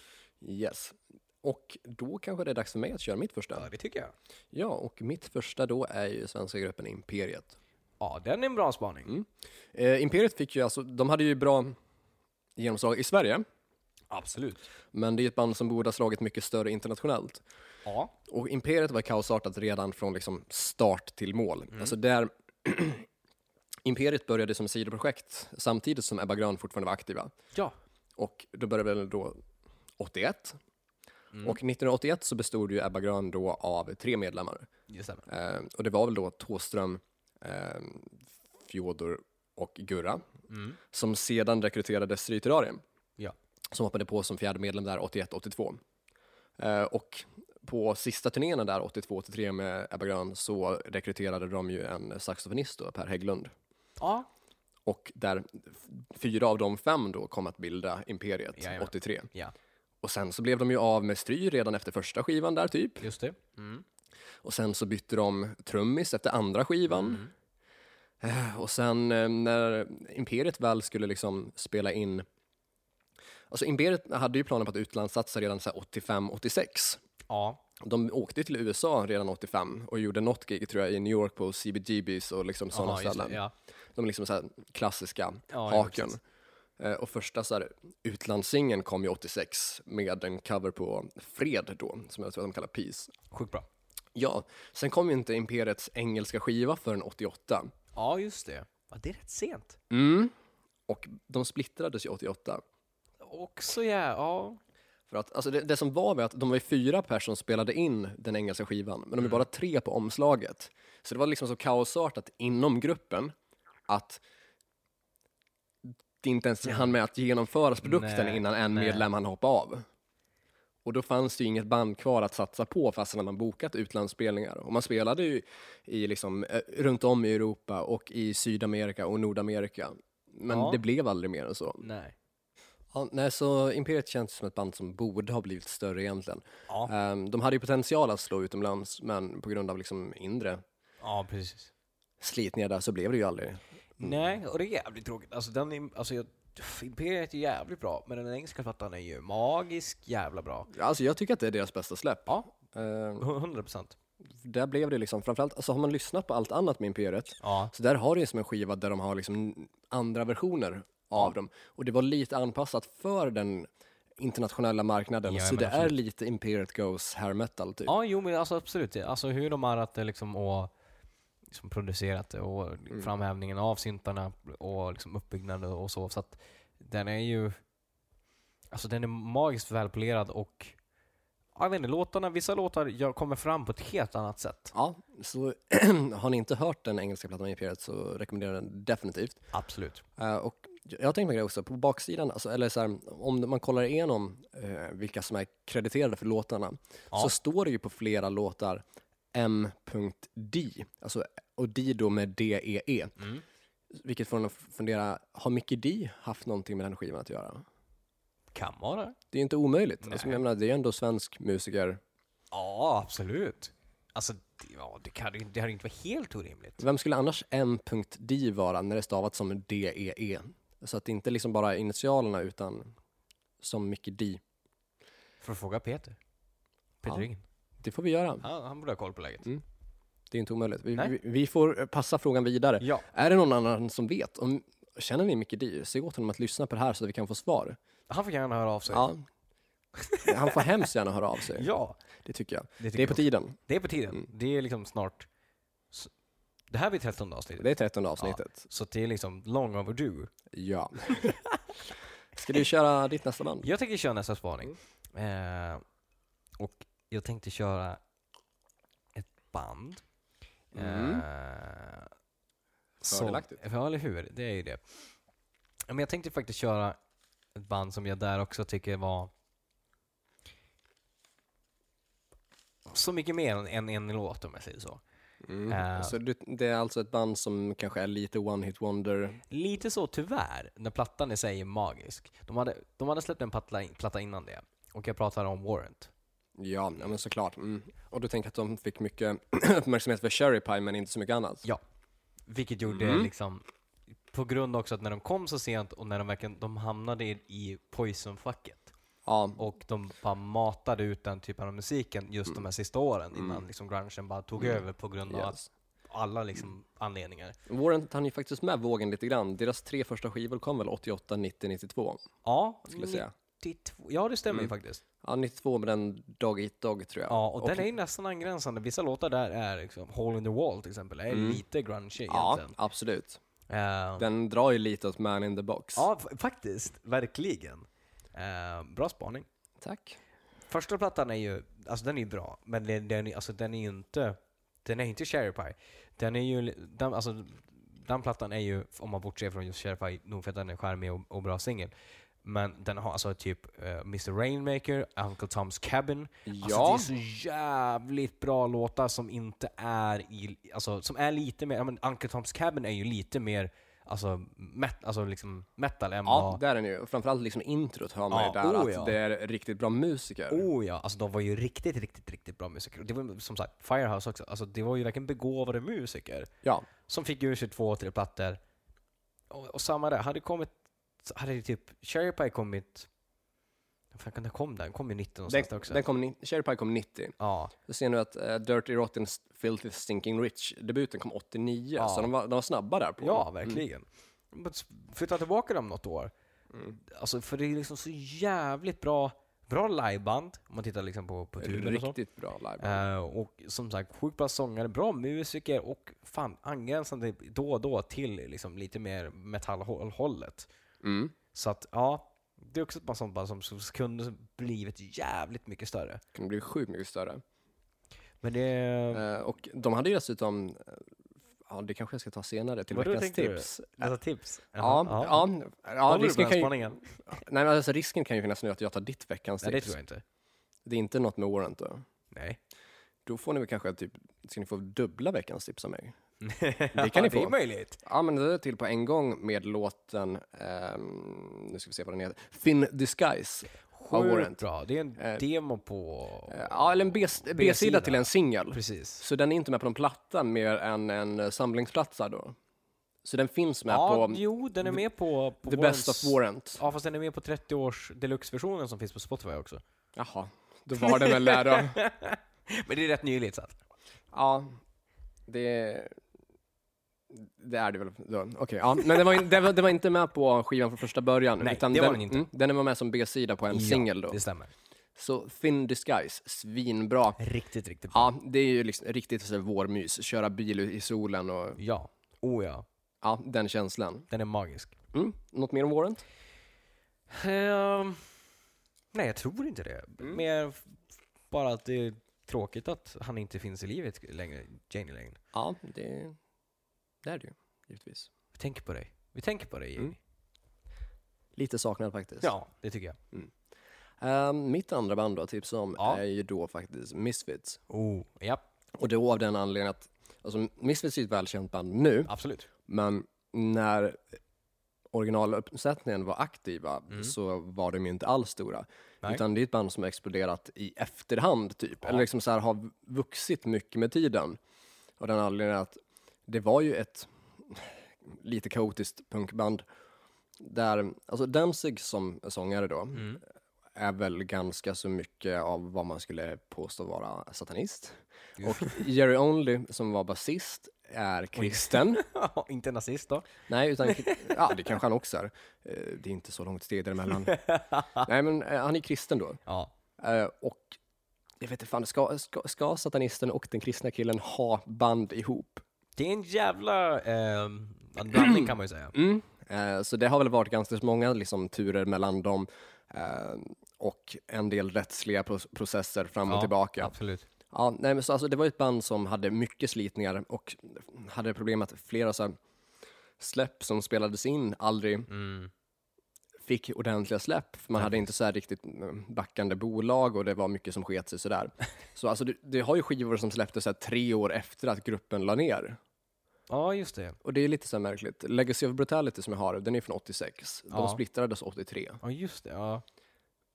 Yes. Och då kanske det är dags för mig att köra mitt första. Ja, det tycker jag. Ja, och mitt första då är ju svenska gruppen Imperiet. Ja, den är en bra spaning. Eh, Imperiet fick ju alltså, de hade ju bra genomslag i Sverige, Absolut. men det är ju ett band som borde ha slagit mycket större internationellt. Ja. Och Mm. Imperiet var kaosartat redan från liksom start till mål. Alltså där Imperiet började som sidoprojekt samtidigt som Ebba Grön fortfarande var aktiva. Ja. Och då började väl då 81. Mm. Och 1981 så bestod ju Ebba Grön då av tre medlemmar. Det stämmer. Eh, och det var väl då Thåström, eh, Fjodor och Gurra Mm. som sedan rekryterades till Rytterarien. Ja. Som hoppade på som fjärde medlem där 81-82. Eh, och på sista turnéerna där 82-83 med Ebba Grön så rekryterade de ju en saxofonist då, Per Hägglund. Ja. Och där f- fyra av de fem då kom att bilda Imperiet Jajamän. 83. Ja, Och sen så blev de ju av med Stry redan efter första skivan där typ. just det. Mm. Och sen så bytte de trummis efter andra skivan. Mm. Eh, Och sen eh, när Imperiet väl skulle liksom spela in... Alltså Imperiet hade ju planer på att utlandssatsa redan så här 85-86. Ja. De åkte till USA redan 85 och gjorde något gig tror jag i New York på CBGBs och liksom sådana Aha, just det. ställen. Ja. De liksom så här klassiska Ja, ja, haken. precis. Eh, och första så här, utlandssingen kom ju 86 med en cover på Fred då, som jag tror att de kallar Peace. Sjukt bra. Ja, sen kom ju inte Imperiets engelska skiva förrän 88. Ja, just det. Ja, det är rätt sent. Mm. Och de splittrades ju 88. Också ja, ja. För att, alltså det, det som var var att de var ju fyra personer som spelade in den engelska skivan, men de Mm. är bara tre på omslaget. Så det var liksom så kaosartat inom gruppen att det inte ens hann med att genomföras produkten Nej, innan en nej. medlem hann hoppa av. Och då fanns det ju inget band kvar att satsa på fastän man bokat utlandsspelningar. Och man spelade ju i liksom, eh, runt om i Europa och i Sydamerika och Nordamerika. Men Ja. det blev aldrig mer än så. Nej. Ja, nej, så Imperiet känns som ett band som borde ha blivit större egentligen. Ja, Ehm, de hade ju potential att slå utomlands, men på grund av liksom inre ja precis. slitningar där så blev det ju aldrig. Nej, och det är jävligt tråkigt. Alltså, den är, alltså, jag, Imperiet är jävligt bra, men den engelska plattan är ju magisk jävla bra. Alltså jag tycker att det är deras bästa släpp. Ja, Ehm, 100 procent. där blev det liksom, framförallt, alltså har man lyssnat på allt annat med Imperiet, Ja. så där har det ju som en skiva där de har liksom andra versioner av dem. Och det var lite anpassat för den internationella marknaden, Ja, så men det är absolut. lite Imperiet Goes hair metal typ. ja, jo men alltså, absolut. Alltså hur de har att det liksom och liksom producerat det och framhävningen av syntarna och liksom uppbyggnaden och så. Så att den är ju alltså den är magiskt välpolerad och jag vet inte, låtarna, vissa låtar jag kommer fram på ett helt annat sätt. Ja, så har ni inte hört den engelska plattan med Imperiet så rekommenderar jag den definitivt. Absolut. Eh, och jag har tänkt på en grej också, på baksidan, alltså, eller så här, om man kollar igenom eh, vilka som är krediterade för låtarna, Ja. så står det ju på flera låtar M.D, alltså, och D då med D-E-E. Mm. Vilket får en att fundera, har Mickey D haft någonting med den skivan att göra? Kan vara. Det är inte omöjligt. Alltså, Nej. jag menar, det är ändå svensk musiker. Ja, absolut. Alltså, det, ja, det, kan, ju- det hade inte varit helt orimligt. Vem skulle annars M.D vara när det stavat som D-E-E? Så att det inte liksom bara är initialerna utan som Mickey D. För att fråga Peter. Peter Ja. Ringen. Det får vi göra. Han, han borde ha koll på läget. Det är inte omöjligt. Vi, Nej. vi, vi får eh, passa frågan vidare. Ja. Är det någon annan som vet? Om, känner ni Mickey D? Se åt honom att lyssna på det här så att vi kan få svar. Han får gärna höra av sig. Ja. Han får hemskt gärna höra av sig. Ja, Det tycker jag. det, tycker Det är jag på också. tiden. det är på tiden. Mm. Det är liksom snart. s- Det här blir 13 avsnittet. Det är 13 avsnittet. Så det är liksom long overdue. Ja. Ska du köra ditt nästa band? Jag tänker köra nästa spaning. Mm. Eh, och jag tänkte köra ett band. Mm. Eh, som- Fördelaktigt. Ja, eller hur? Det är ju det. Ja, Men jag tänkte faktiskt köra ett band som jag där också tycker var så mycket mer än en, en låt om jag säger så. Mm. Eh. Så du, det är alltså ett band som kanske är lite one hit wonder. Lite så tyvärr, när plattan i sig är magisk. De hade, de hade släppt en platta, platta innan det och jag pratar om Warrant. Ja, ja men såklart. Mm. Och du tänker att de fick mycket uppmärksamhet för Cherry Pie men inte så mycket annat? Ja. Vilket gjorde Mm. liksom, på grund också att när de kom så sent och när de verkligen, de hamnade i, i poison-facket. Ja. Och de bara matade ut den typen av musiken just de här sista åren innan liksom grungen bara tog över på grund av Mm. Yes. alla liksom anledningar. Warrant hann ju faktiskt med vågen lite grann. Deras tre första skivor kom väl 88, 90, 92? Ja, Skulle jag säga. Mm. 92, ja det stämmer ju faktiskt. Ja, 92 med den Dog Eat Dog tror jag. Ja, och, den är ju nästan angränsande. Vissa låtar där är liksom, Hole in the Wall till exempel, är lite grungy Mm. Ja, egentligen. absolut. Eh, Den drar ju lite åt Man in the box. Ja, f- faktiskt. Verkligen. Eh, bra spaning. Tack. Första plattan är ju, alltså den är ju bra, men den, den, är- alltså den är ju inte, den är inte Cherry Pie. Den är ju, li- den, alltså den plattan är ju, om man bortser från just Cherry Pie, nog för att den är charmig och, och bra singel. Men den har alltså typ eh, Mr Rainmaker, Uncle Tom's Cabin. Alltså det Ja. är så jävligt bra låtar som inte är i, alltså som är lite mer, ja, men Uncle Tom's Cabin är ju lite mer, alltså, met, alltså liksom metal än vad Ja, där är den ju. Och Framförallt liksom introt hör man Ja, ju där oh att ja. det är riktigt bra musiker. Oh ja, alltså de var ju riktigt, riktigt, riktigt bra musiker. Och Det var som sagt Firehouse också, alltså det var ju verkligen begåvade musiker Ja, som fick ur sig två, tre plattor. Och, och samma där, hade kommit, hade det typ Cherry Pie kommit, vad fan kan det kom den? Den kom ju 19 den, någonstans också. den kom, ni- Cherry Pie kom 90. ja, Då ser nu att eh, Dirty Rotten Filthy Stinking Rich, debuten kom 89, Ja. så de var, de var snabba där på. ja, verkligen. Men s- Flytta tillbaka dem något år. Mm. Alltså, för det är liksom så jävligt bra, bra liveband om man tittar liksom på, på turen och så. Mm. Riktigt bra live. Eh, och som sagt, sjukt bra sångare, bra musiker och fan angränsande då och då till liksom, lite mer metallhållet. Mm. Så att ja, det är också ett par sånt band som som kunde blivit jävligt mycket större. Kunde bli sjukt mycket större. Men det... Eh, och de hade ju dessutom, eh, ja det kanske jag ska ta senare, till Vadå, veckans tänkte du? tips. Alltså tips? Ja, ja, ja, Håller du på risken, den kan ju, spaningen? nej, men alltså, risken kan ju finnas nu att jag tar ditt veckans Nej, det tips. tror jag inte. det är inte något med Warrant då. Nej. Då får ni väl kanske typ, ska ni få dubbla veckans tips av mig? Det kan ni Det är få. möjligt. Ja, men det är till på en gång med låten, ehm, nu ska vi se vad den heter, Thin Disguise av Sjukt Warrant. bra. Det är en Eh, demo på... Eh, Ja, eller en B- B-sida till en singel. Precis. Så den är inte med på någon platta mer än en eh, samlingsplatta då. Så den finns med Ja, på jo, den är med på... på The Best Warrants- of Warrant. Ja, fast den är med på 30-års deluxe-versionen som finns på Spotify också. Jaha, då var det väl där då. Men det är rätt nyligt så att. Ja, det... Det är det väl då. Okej, ja. Men det var, in- det, var, det var inte med på skivan från första början. Nej, det var den den inte. Mm, den var med som B-sida på en singel då. Det stämmer. Så Thin Disguise, svinbra. Riktigt, riktigt bra. Ja, det är ju liksom riktigt så här vårmys. Köra bil i solen och Ja. Oh ja. ja, den känslan. Den är magisk. Mm. Något mer om Warrant? Ehm, nej, jag tror inte det. Mm. Mer f- bara att det är tråkigt att han inte finns i livet längre, Janie Lane. Ja, det, det är det ju, givetvis. Vi tänker på dig. Vi tänker på dig, Janie. Mm. Lite saknad faktiskt. Ja, det tycker jag. Ehm, mitt andra band då, tips om, Ja. är ju då faktiskt Misfits. Oh, ja. Och då av den anledningen att, alltså Misfits är ju ett välkänt band nu, Absolut. men när originaluppsättningen var aktiva så var de ju inte alls stora. Nej. Utan det är ett band som har exploderat i efterhand typ. Eller liksom så här har vuxit mycket med tiden. Och den anledningen att det var ju ett lite kaotiskt punkband. Där, alltså Danzig som sångare då, är väl ganska så mycket av vad man skulle påstå vara satanist. Och Jerry Only som var basist är kristen. inte nazist då. Nej, utan... Ja, det kanske han också är. Eh, Det är inte så långt steg däremellan. Nej, men eh, han är kristen då. Ja. Eh, Och jag vet inte fan, ska, ska, ska satanisten och den kristna killen ha band ihop? Det är en jävla ehm, en blandning kan man ju säga. Mm. Eh, Så det har väl varit ganska många liksom, turer mellan dem eh, och en del rättsliga pro- processer fram och Ja, tillbaka. Absolut. Ja, nej, men så, alltså, det var ju ett band som hade mycket slitningar och hade problem att flera så här, släpp som spelades in aldrig Mm. fick ordentliga släpp. För man hade inte så här riktigt mm, backande bolag och det var mycket som sket sig sådär. Så alltså, det, det har ju skivor som släpptes så här, tre år efter att gruppen la ner. Ja, just det. Och det är lite så här märkligt. Legacy of Brutality som jag har, den är från 86. De Ja. splittrades 83. Ja, just det. Ja.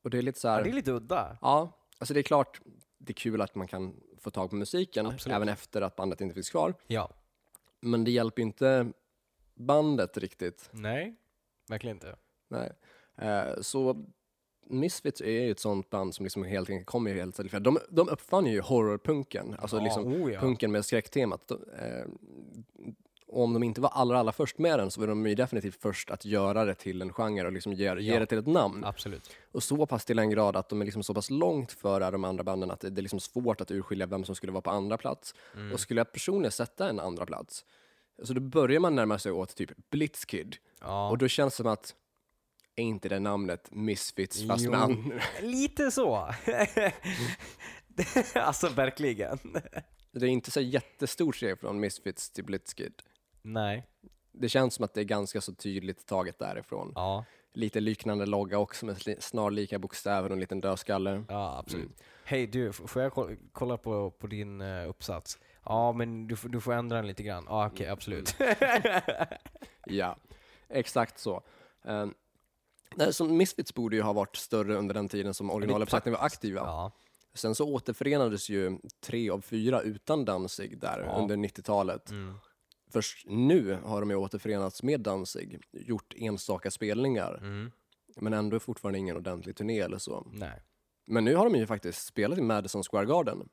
Och det är lite så här... Ja, det är lite udda. Ja, alltså det är klart det är kul att man kan få tag på musiken Absolut. även efter att bandet inte finns kvar. Ja. Men det hjälper ju inte bandet riktigt. Nej, Typ. verkligen inte. Nej. Eh, så Misfits är ju ett sånt band som liksom helt enkelt kommer ju helt till- för de, de uppfann ju horrorpunken, alltså liksom oh ja. punken med skräcktemat. De, eh, och om de inte var allra, allra först med den så var de ju definitivt först att göra det till en genre och liksom ge, ge Ja. det till ett namn. Absolut. Och så pass till en grad att de är liksom så pass långt före de andra banden att det det är Mm. liksom svårt att urskilja vem som skulle vara på andra plats. Och skulle jag personligen sätta en andra plats Alltså då börjar man närma sig åt typ Blitzkid. Ja. Och då känns det som att, är inte det namnet Misfits fast Jo. med an- Lite så. Det- alltså verkligen. Det är inte så jättestort steg från Misfits till Blitzkid. Nej. Det känns som att det är ganska så tydligt taget därifrån. Ja, Lite liknande logga också med sli- snarlika bokstäver och en liten dödskalle. ja absolut. Mm. Hej du, f- får jag ko- kolla på, på din eh, uppsats? Ja, men du, får- du får ändra den lite grann. Ja, okej, absolut. Ja, exakt så. Um, som Misfits borde ju ha varit större under den tiden som originaluppsättningen var aktiva. Ja. Sen så återförenades ju tre av fyra utan Danzig där Ja. under 90-talet. Mm. Först nu har de ju återförenats med Danzig, gjort enstaka spelningar, Mm. men ändå är fortfarande ingen ordentlig turné eller så. Nej. Men nu har de ju faktiskt spelat i Madison Square Garden.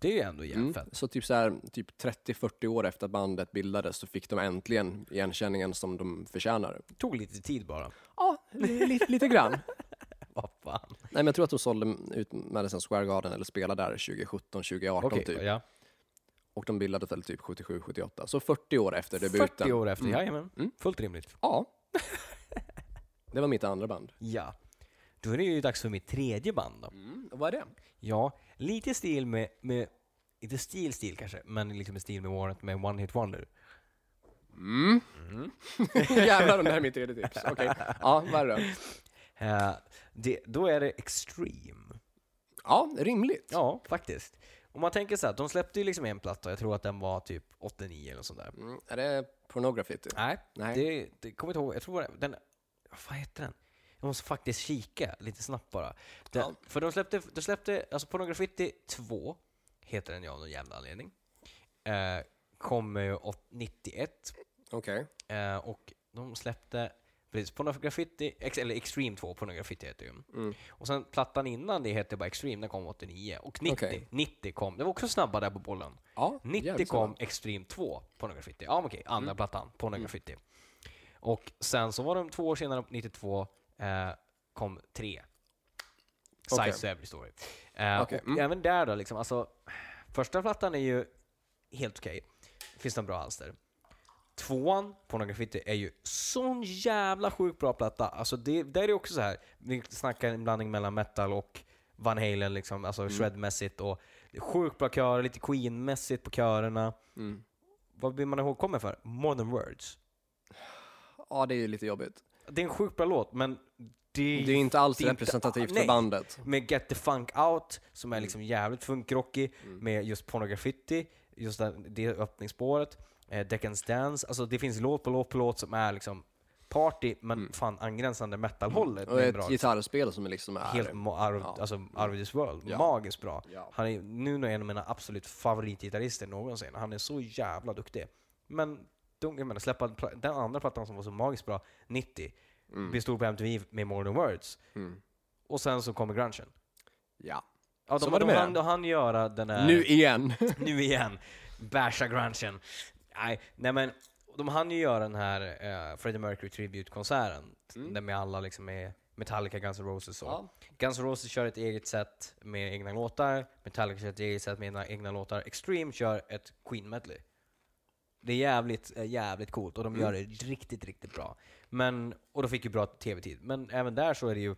Det är ju ändå jävligt Mm. fett. Så typ så här, typ 30-40 år efter att bandet bildades så fick de äntligen igenkänningen som de förtjänar. Det tog lite tid bara. Ja, lite, lite grann. Vad fan. Nej, men jag tror att de sålde ut Madison Square Garden eller spelade där 2017, 2018 Okej, typ. ja. Och de bildades väl typ 77, 78. Så 40 år efter debuten. 40 år efter, Mm. jajamän. Mm. Fullt rimligt. Ja. Det var mitt andra band. Ja. Då är det ju dags för mitt tredje band då. Vad är det? Ja, lite stil med, med inte stil stil kanske, men liksom i stil med Warrant med One Hit Wonder. Mm. Mm. Jävlar om det här är mitt tredje tips. Okej. Ja, vad är det Eh, det, då är det Extreme. Ja, rimligt. Ja, faktiskt. Om man tänker så här, de släppte ju liksom en platta, jag tror att den var typ 89 eller sådär. Mm, är det pornography? Typ? Nej, Nej. Det, det kommer jag inte ihåg. Jag tror det var den... Vad fan heter den? Jag måste faktiskt kika lite snabbt bara. Den, Ja. För de släppte, de släppte, alltså Pornograffiti 2 heter den ju av någon jävla anledning. Eh, kommer ju åt- 91 Okej. Eh, och de släppte precis, Pornograffiti, ex, eller Extreme 2, Pornograffiti heter det ju. Mm. Och sen plattan innan det hette bara Extreme, den kom 89. Och 90, Okej. 90 kom, det var också snabba där på bollen. Ja, 90 jävligt kom snabbt. Mm. Extreme 2, Pornograffiti. Ja, men okej, andra plattan, Pornograffiti. Och sen så var de två år senare, 92, eh, kom 3. Size Okej. okay. Every Story. Eh, Okej, Och mm. även där då, liksom, alltså, första plattan är ju helt okej. Finns det en bra alster. Tvåan, Pornograffiti, är ju sån jävla sjukt bra platta. Alltså det, där är det också så här. vi snackar en blandning mellan metal och Van Halen, liksom, alltså shredmässigt. Och det är sjukt bra körer, lite Queen-mässigt på körerna. Mm. Vad vill man ihågkomma för? Modern Words. Ja, det är ju lite jobbigt. Det är en sjukt bra låt, men det, Det är inte alls det är inte- Ah, representativt nej. för bandet. med Get the Funk Out, som Mm. är liksom jävligt funkrockig, med just Pornograffiti, just det, det öppningsspåret, eh, Deckens Dance, alltså det finns låt på låt på låt som är liksom party, men fan angränsande metalhållet. Mm. Och med en ett bra- gitarrspel som liksom är... Helt mo- Arv, Ja. Mm. alltså, Arv of this World, Ja. magiskt bra. Ja. Han är nu en av mina absolut favoritgitarrister någonsin. Han är så jävla duktig. Men de, jag menar, släppa en pla- den andra plattan som var så magiskt bra, 90, bestod på MTV med Modern Words. Mm. Och sen så kommer grungen. ja. Ja, Så de, var de det med hann, den. de hann göra den här... Nu igen. nu igen! Basha grungen. Nej, nej men, de hann ju göra den här eh, Freddie Mercury Tribute-konserten. Där med alla liksom med Metallica, Guns N' Roses och... Mm. Ja. Guns N' Roses kör ett eget sätt med egna låtar. Metallica kör ett eget sätt med egna, egna låtar. Extreme kör ett Queen-medley. Det är jävligt, eh, jävligt coolt och de Mm. gör det riktigt, riktigt bra. Men, och de fick ju bra tv-tid. Men även där så är det ju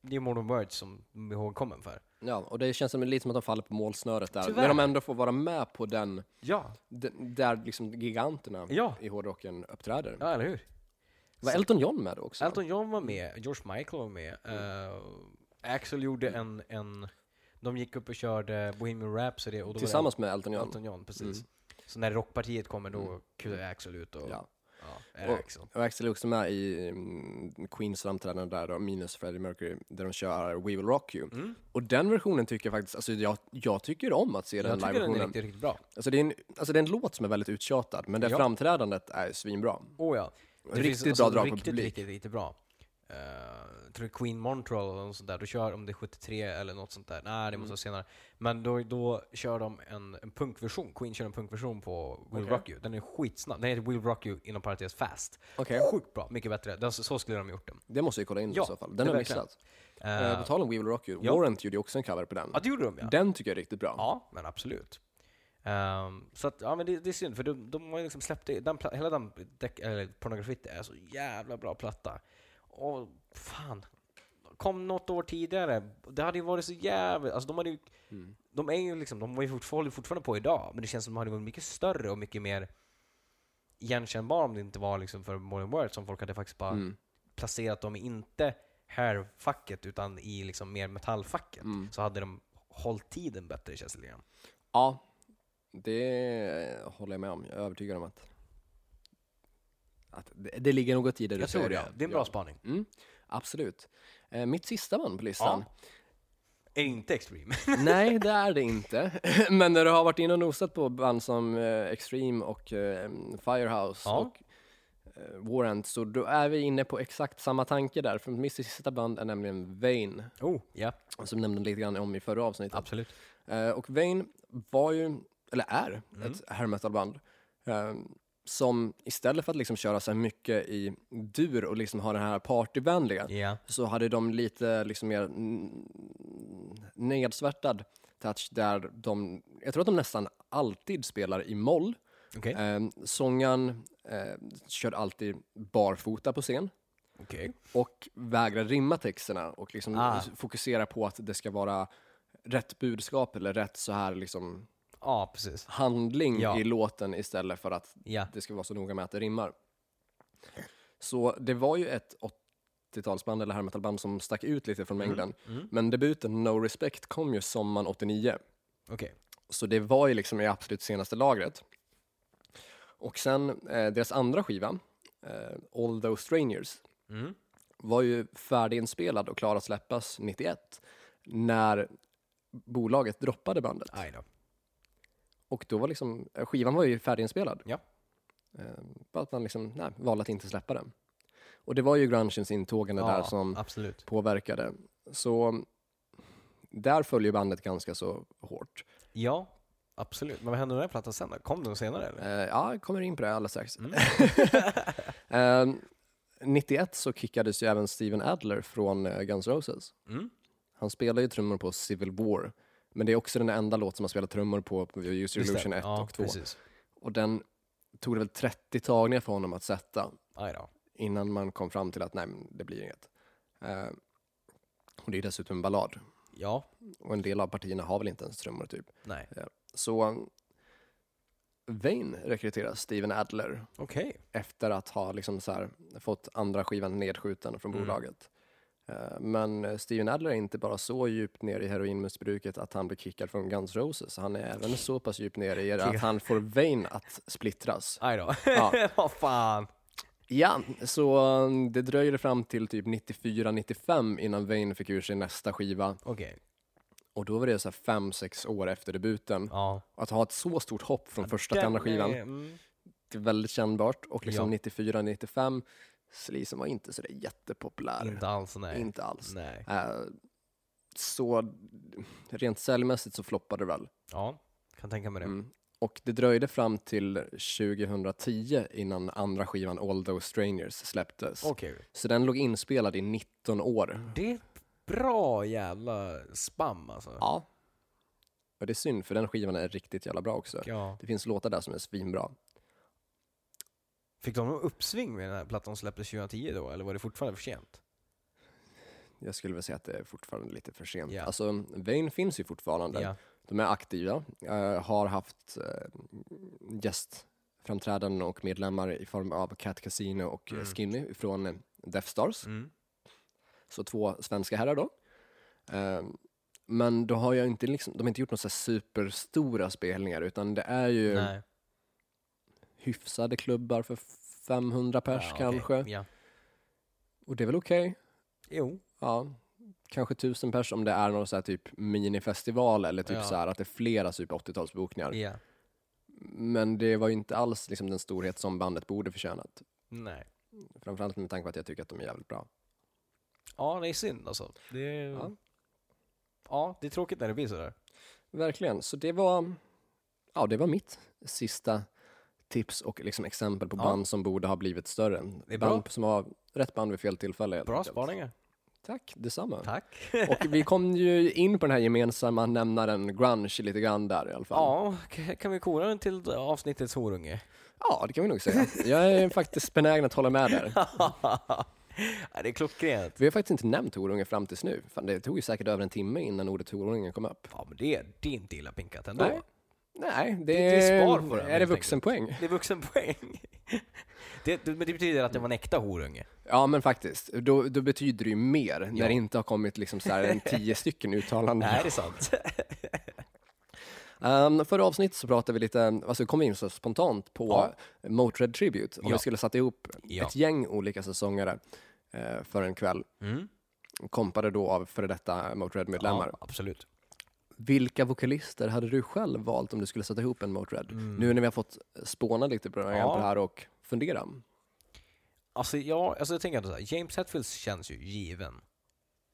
det är Modern Words som de är ihågkommen för. ja, och det känns som, lite som att de faller på målsnöret där. Tyvärr. När de ändå får vara med på den Ja. D- där liksom giganterna Ja. i hårdrocken uppträder. Ja, eller hur? Var Elton John med då också? Elton John var med, George Michael var med. Mm. eh, Axel gjorde en, en... De gick upp och körde Bohemian Rhapsody och då var det Tillsammans med Elton John? Mm. Elton John, precis. Så när rockpartiet kommer då kutar Axel ut och ja. Ja. är det Axel. Och Axel är också med i mm, Queens framträdande där då, minus Freddie Mercury, där de kör We Will Rock You. Mm. Och den versionen tycker jag faktiskt, alltså jag, jag tycker om att se Jag den tycker den är live-versionen. riktigt, riktigt bra. Alltså, det är en- alltså det är en låt som är väldigt uttjatad, men det Ja. framträdandet är svinbra. Oh, ja. Det alltså Riktigt bra drag på riktigt, publik. Riktigt, riktigt bra. Eh, jag tror det är Queen Montreal eller något sånt där, då kör, om det är 73 eller något sånt där, nej det måste vara senare. Mm. Men då, då kör de en, en punkversion, Queen kör en punkversion på Will Okej. Rock You. Den är skitsnabb, den heter Will Rock You inom parentes Fast. Okej. Sjukt bra, mycket bättre. Den, så så skulle de ha gjort den. Det måste vi kolla in Ja, i så fall. det Den har jag verkligen. missat. Eh, Uh, på tal om We Will Rock You, ja. Warrant gjorde ju också en cover på den. ja det gjorde de ja. Den tycker jag är riktigt bra. Ja, men absolut. Ehm, så att, ja men det, det är synd, för de, de har ju liksom släppt det. Den, pla- hela den däck, eller pornografit är så jävla bra platta. Och fan, kom något år tidigare. Det hade ju varit så jävligt, alltså de hade ju Mm. de är ju liksom, de var ju fortfar- håller fortfarande på idag, men det känns som de hade varit mycket större och mycket mer igenkännbara om det inte var liksom för Modern World som folk hade faktiskt bara Mm. placerat dem i, inte hair-facket utan i liksom mer metallfacket. Mm. Så hade de hållit tiden bättre känns det lite grann. Ja, det håller jag med om. Jag är övertygad om att, att det, det ligger något i det du Jag tror säger. det. ja. Det är en bra Ja. spaning. Mm, absolut. Eh, mitt sista namn på listan. Är det inte extreme? Nej, det är det inte. Men när du har varit inne och nosat på band som eh, Extreme och eh, Firehouse Ja. och eh, Warrant, så då är vi inne på exakt samma tanke där. För mitt sista band är nämligen Vain, oh, ja. som jag nämnde lite grann om i förra avsnittet. Absolut. Eh, och Vain var ju, eller är, ett hair metal-band. eh, som istället för att liksom köra så här mycket i dur och liksom ha den här partyvänliga, Ja. så hade de lite liksom mer mm, nedsvärtad touch där de, jag tror att de nästan alltid spelar i moll. Okej. Eh, sångaren eh, kör alltid barfota på scen Okej. och vägrar rimma texterna och liksom Ah. fokuserar på att det ska vara rätt budskap eller rätt så här liksom Ja, precis. handling Ja. i låten istället för att Ja. det ska vara så noga med att det rimmar. Så det var ju ett 80-talsband eller härmetalband som stack ut lite från mängden. Mm. Men debuten No Respect kom ju sommaren 89. Okej. Så det var ju liksom i absolut senaste lagret. Och sen eh, deras andra skiva, eh, All Those Strangers, Mm. var ju färdiginspelad och klar att släppas 91 när bolaget droppade bandet. Aj då. Och då var liksom, eh, skivan var ju färdiginspelad. Ja. Eh, bara att man liksom, nej, valde att inte släppa den. Och det var ju grungens intågande där Ja, som absolut. påverkade. Så där följer bandet ganska så hårt. Ja, absolut. Men vad hände med den här plattan sen då? Kom den senare eller? Eh, ja, jag kommer in på det alldeles strax. Mm. Eh, 91 så kickades ju även Steven Adler från eh, Guns N' Roses. Mm. Han spelar ju trummor på Civil War, men det är också den enda låt som han spelar trummor på på Use Your Just det. Illusion 1 ja, och 2. Precis. Och den tog det väl 30 tagningar för honom att sätta Aj då. innan man kom fram till att nej, men det blir inget. Eh, och det är dessutom en ballad. Ja, Och en del av partierna har väl inte ens trummor typ. nej. Så um, Vain rekryterar Steven Adler Okej. efter att ha liksom så här, fått andra skivan nedskjuten från Mm. bolaget. Eh, Men eh, Steven Adler är inte bara så djupt ner i heroinmissbruket att han blir kickad från Guns Roses. Han är även så pass djupt ner i det att han får Vain att splittras. Aj då. Ja. Vad fan. Ja, så um, det dröjer fram till typ 94-95 innan Vain fick ur sig nästa skiva. Okej. Och då var det så här fem, sex år efter debuten. Ja. Att ha ett så stort hopp från första till andra Den är- skivan, Mm. det är väldigt kännbart. Och liksom Ja. 94-95, Sleason var inte så där jättepopulär. Inte alls, Mm, nej. Inte alls. Nej. Eh, så rent säljmässigt så floppade det väl. Ja, kan tänka mig det. Mm. Och det dröjde fram till 2010 innan andra skivan All Those Strangers släpptes. Okej. Så den låg inspelad i 19 år. Det är ett bra jävla spam alltså. Ja. Och det är synd, för den skivan är riktigt jävla bra också. Ja. Det finns låtar där som är svinbra. Fick de någon uppsving med den här plattan som släpptes 2010 då, eller var det fortfarande för sent? Jag skulle väl säga att det är fortfarande lite för sent. Ja. Alltså, Vain finns ju fortfarande. Ja. De är aktiva, eh, har haft eh, gästframträdanden och medlemmar i form av Cat Casino och eh, Mm. Skinny från eh, Death Stars. Mm. Så två svenska herrar då. Eh, men då har jag inte liksom, de har inte gjort några så här superstora spelningar utan det är ju Nej. hyfsade klubbar för 500 pers Ja, okej. kanske. Ja. Och det är väl okej. Jo. Ja, kanske 1000 pers om det är någon så här typ minifestival eller typ Ja. så här att det är flera typ 80-talsbokningar. Ja. Men det var ju inte alls liksom den storhet som bandet borde förtjänat. Nej. Framförallt med tanke på att jag tycker att de är jävligt bra. Ja, det är synd alltså. Det är... Ja. ja. det är tråkigt när det blir sådär. Verkligen, så det var, ja, det var mitt sista tips och liksom exempel på Ja. band som borde ha blivit större. Det är bra. band som var rätt band vid fel tillfälle. helt Bra enkelt. spaningar. Tack, detsamma. Tack. Och vi kom ju in på den här gemensamma nämnaren grunge lite grann där i alla fall. Ja, k- kan vi kora den till avsnittets horunge? Ja, det kan vi nog säga. Jag är faktiskt benägen att hålla med där. ja, det är klockrent. Vi har faktiskt inte nämnt horunge fram tills nu. Fan, det tog ju säkert över en timme innan ordet horunge kom upp. Ja, men det, det är inte illa pinkat ändå. Nej. Nej, det, Det är spar på den, är det helt vuxenpoäng. Det är vuxenpoäng. Det, det, men det betyder att det var en äkta horunge. Ja, men faktiskt. Då, då betyder det ju mer när Ja. det inte har kommit liksom så här en tio stycken uttalanden. Nej, det är sant. Um, förra avsnittet så pratade vi lite, alltså kom vi in så spontant på Motörhead Tribute. Om Ja. vi skulle sätta ihop Ja. ett gäng olika säsongare eh, för en kväll. Mm. Kompade då av före detta Motörhead-medlemmar. Ja, absolut. Vilka vokalister hade du själv valt om du skulle sätta ihop en Motörhead? Nu när vi har fått spåna lite på det här, Mm. Ja. på det här och fundera. Alltså, ja, alltså jag tänker ändå så här, James Hetfield känns ju given.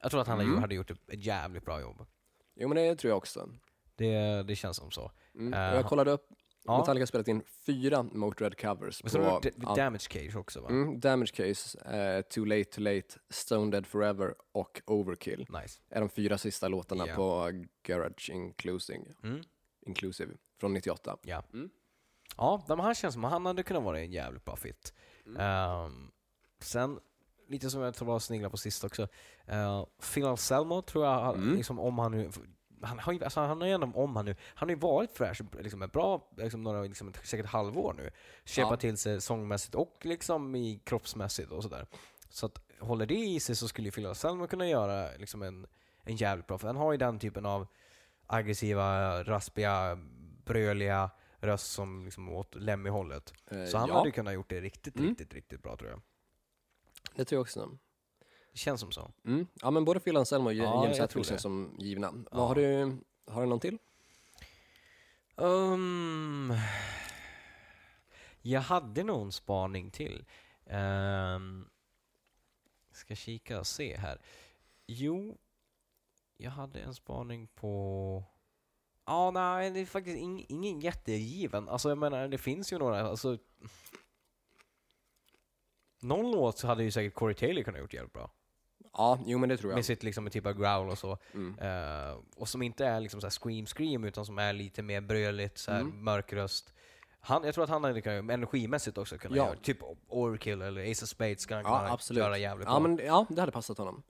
Jag tror att han hade Mm. gjort- hade gjort ett ett jävligt bra jobb. Jo, men det tror jag också. Det, det känns som så. Mm. Eh, och jag kollade upp, ja. Metallica har spelat in fyra Motörhead-covers. Men så har på du da- al- Damage Cage också va? mm, Damage Case, eh, Too Late Too Late, Stone Dead Forever och Overkill. Nice. är de fyra sista låtarna Ja. på Garage Inclusive, Mm. Inclusive från 98. Ja. Mm. Ja, nej, men han känns som han hade kunnat vara en jävligt bra fit. Ehm, sen, lite som jag tror jag snegla på sist också. eh, Phil Anselmo tror jag, har- Mm. liksom, om han nu... Han har ju alltså, han har ju ändå, om han nu, han har ju varit fräsch liksom, ett bra, liksom, några, liksom, ett, säkert ett halvår nu. Köpa Ja. till sig sångmässigt och liksom i kroppsmässigt och sådär. Så att håller det i sig så skulle ju Phil Anselmo kunna göra liksom, en, en jävligt bra, för han har ju den typen av aggressiva, raspiga, bröliga röst som liksom åt Lemmy-hållet. Eh, Så han ja, hade ju kunnat gjort det riktigt, Mm. riktigt, riktigt bra tror jag. det tror jag också. Det känns som så. Mm. Ja, men både Phil Anselmo och Ja, ja, James jag Hetfield tror det. känns som givna. Ja. Vad har du, har du någon till? Um, jag hade någon spaning till. Ehm, ska kika och se här. Jo, jag hade en spaning på... Ja, nej, det är faktiskt ing, ingen jättegiven. Alltså, jag menar, det finns ju några. Alltså, någon låt så hade ju säkert Corey Taylor kunnat gjort jävligt bra. Ja, jo men det tror jag. Med sitt liksom, typ av growl och så. Mm. Eh, och som inte är liksom såhär scream scream utan som är lite mer bröligt, såhär Mm. mörk röst. Han, jag tror att han hade kunnat, energimässigt också kunnat Ja. göra typ Overkill eller Ace of Spades kan han Ja, kunna absolut. göra jävligt Ja, bra. men, ja, det hade passat honom.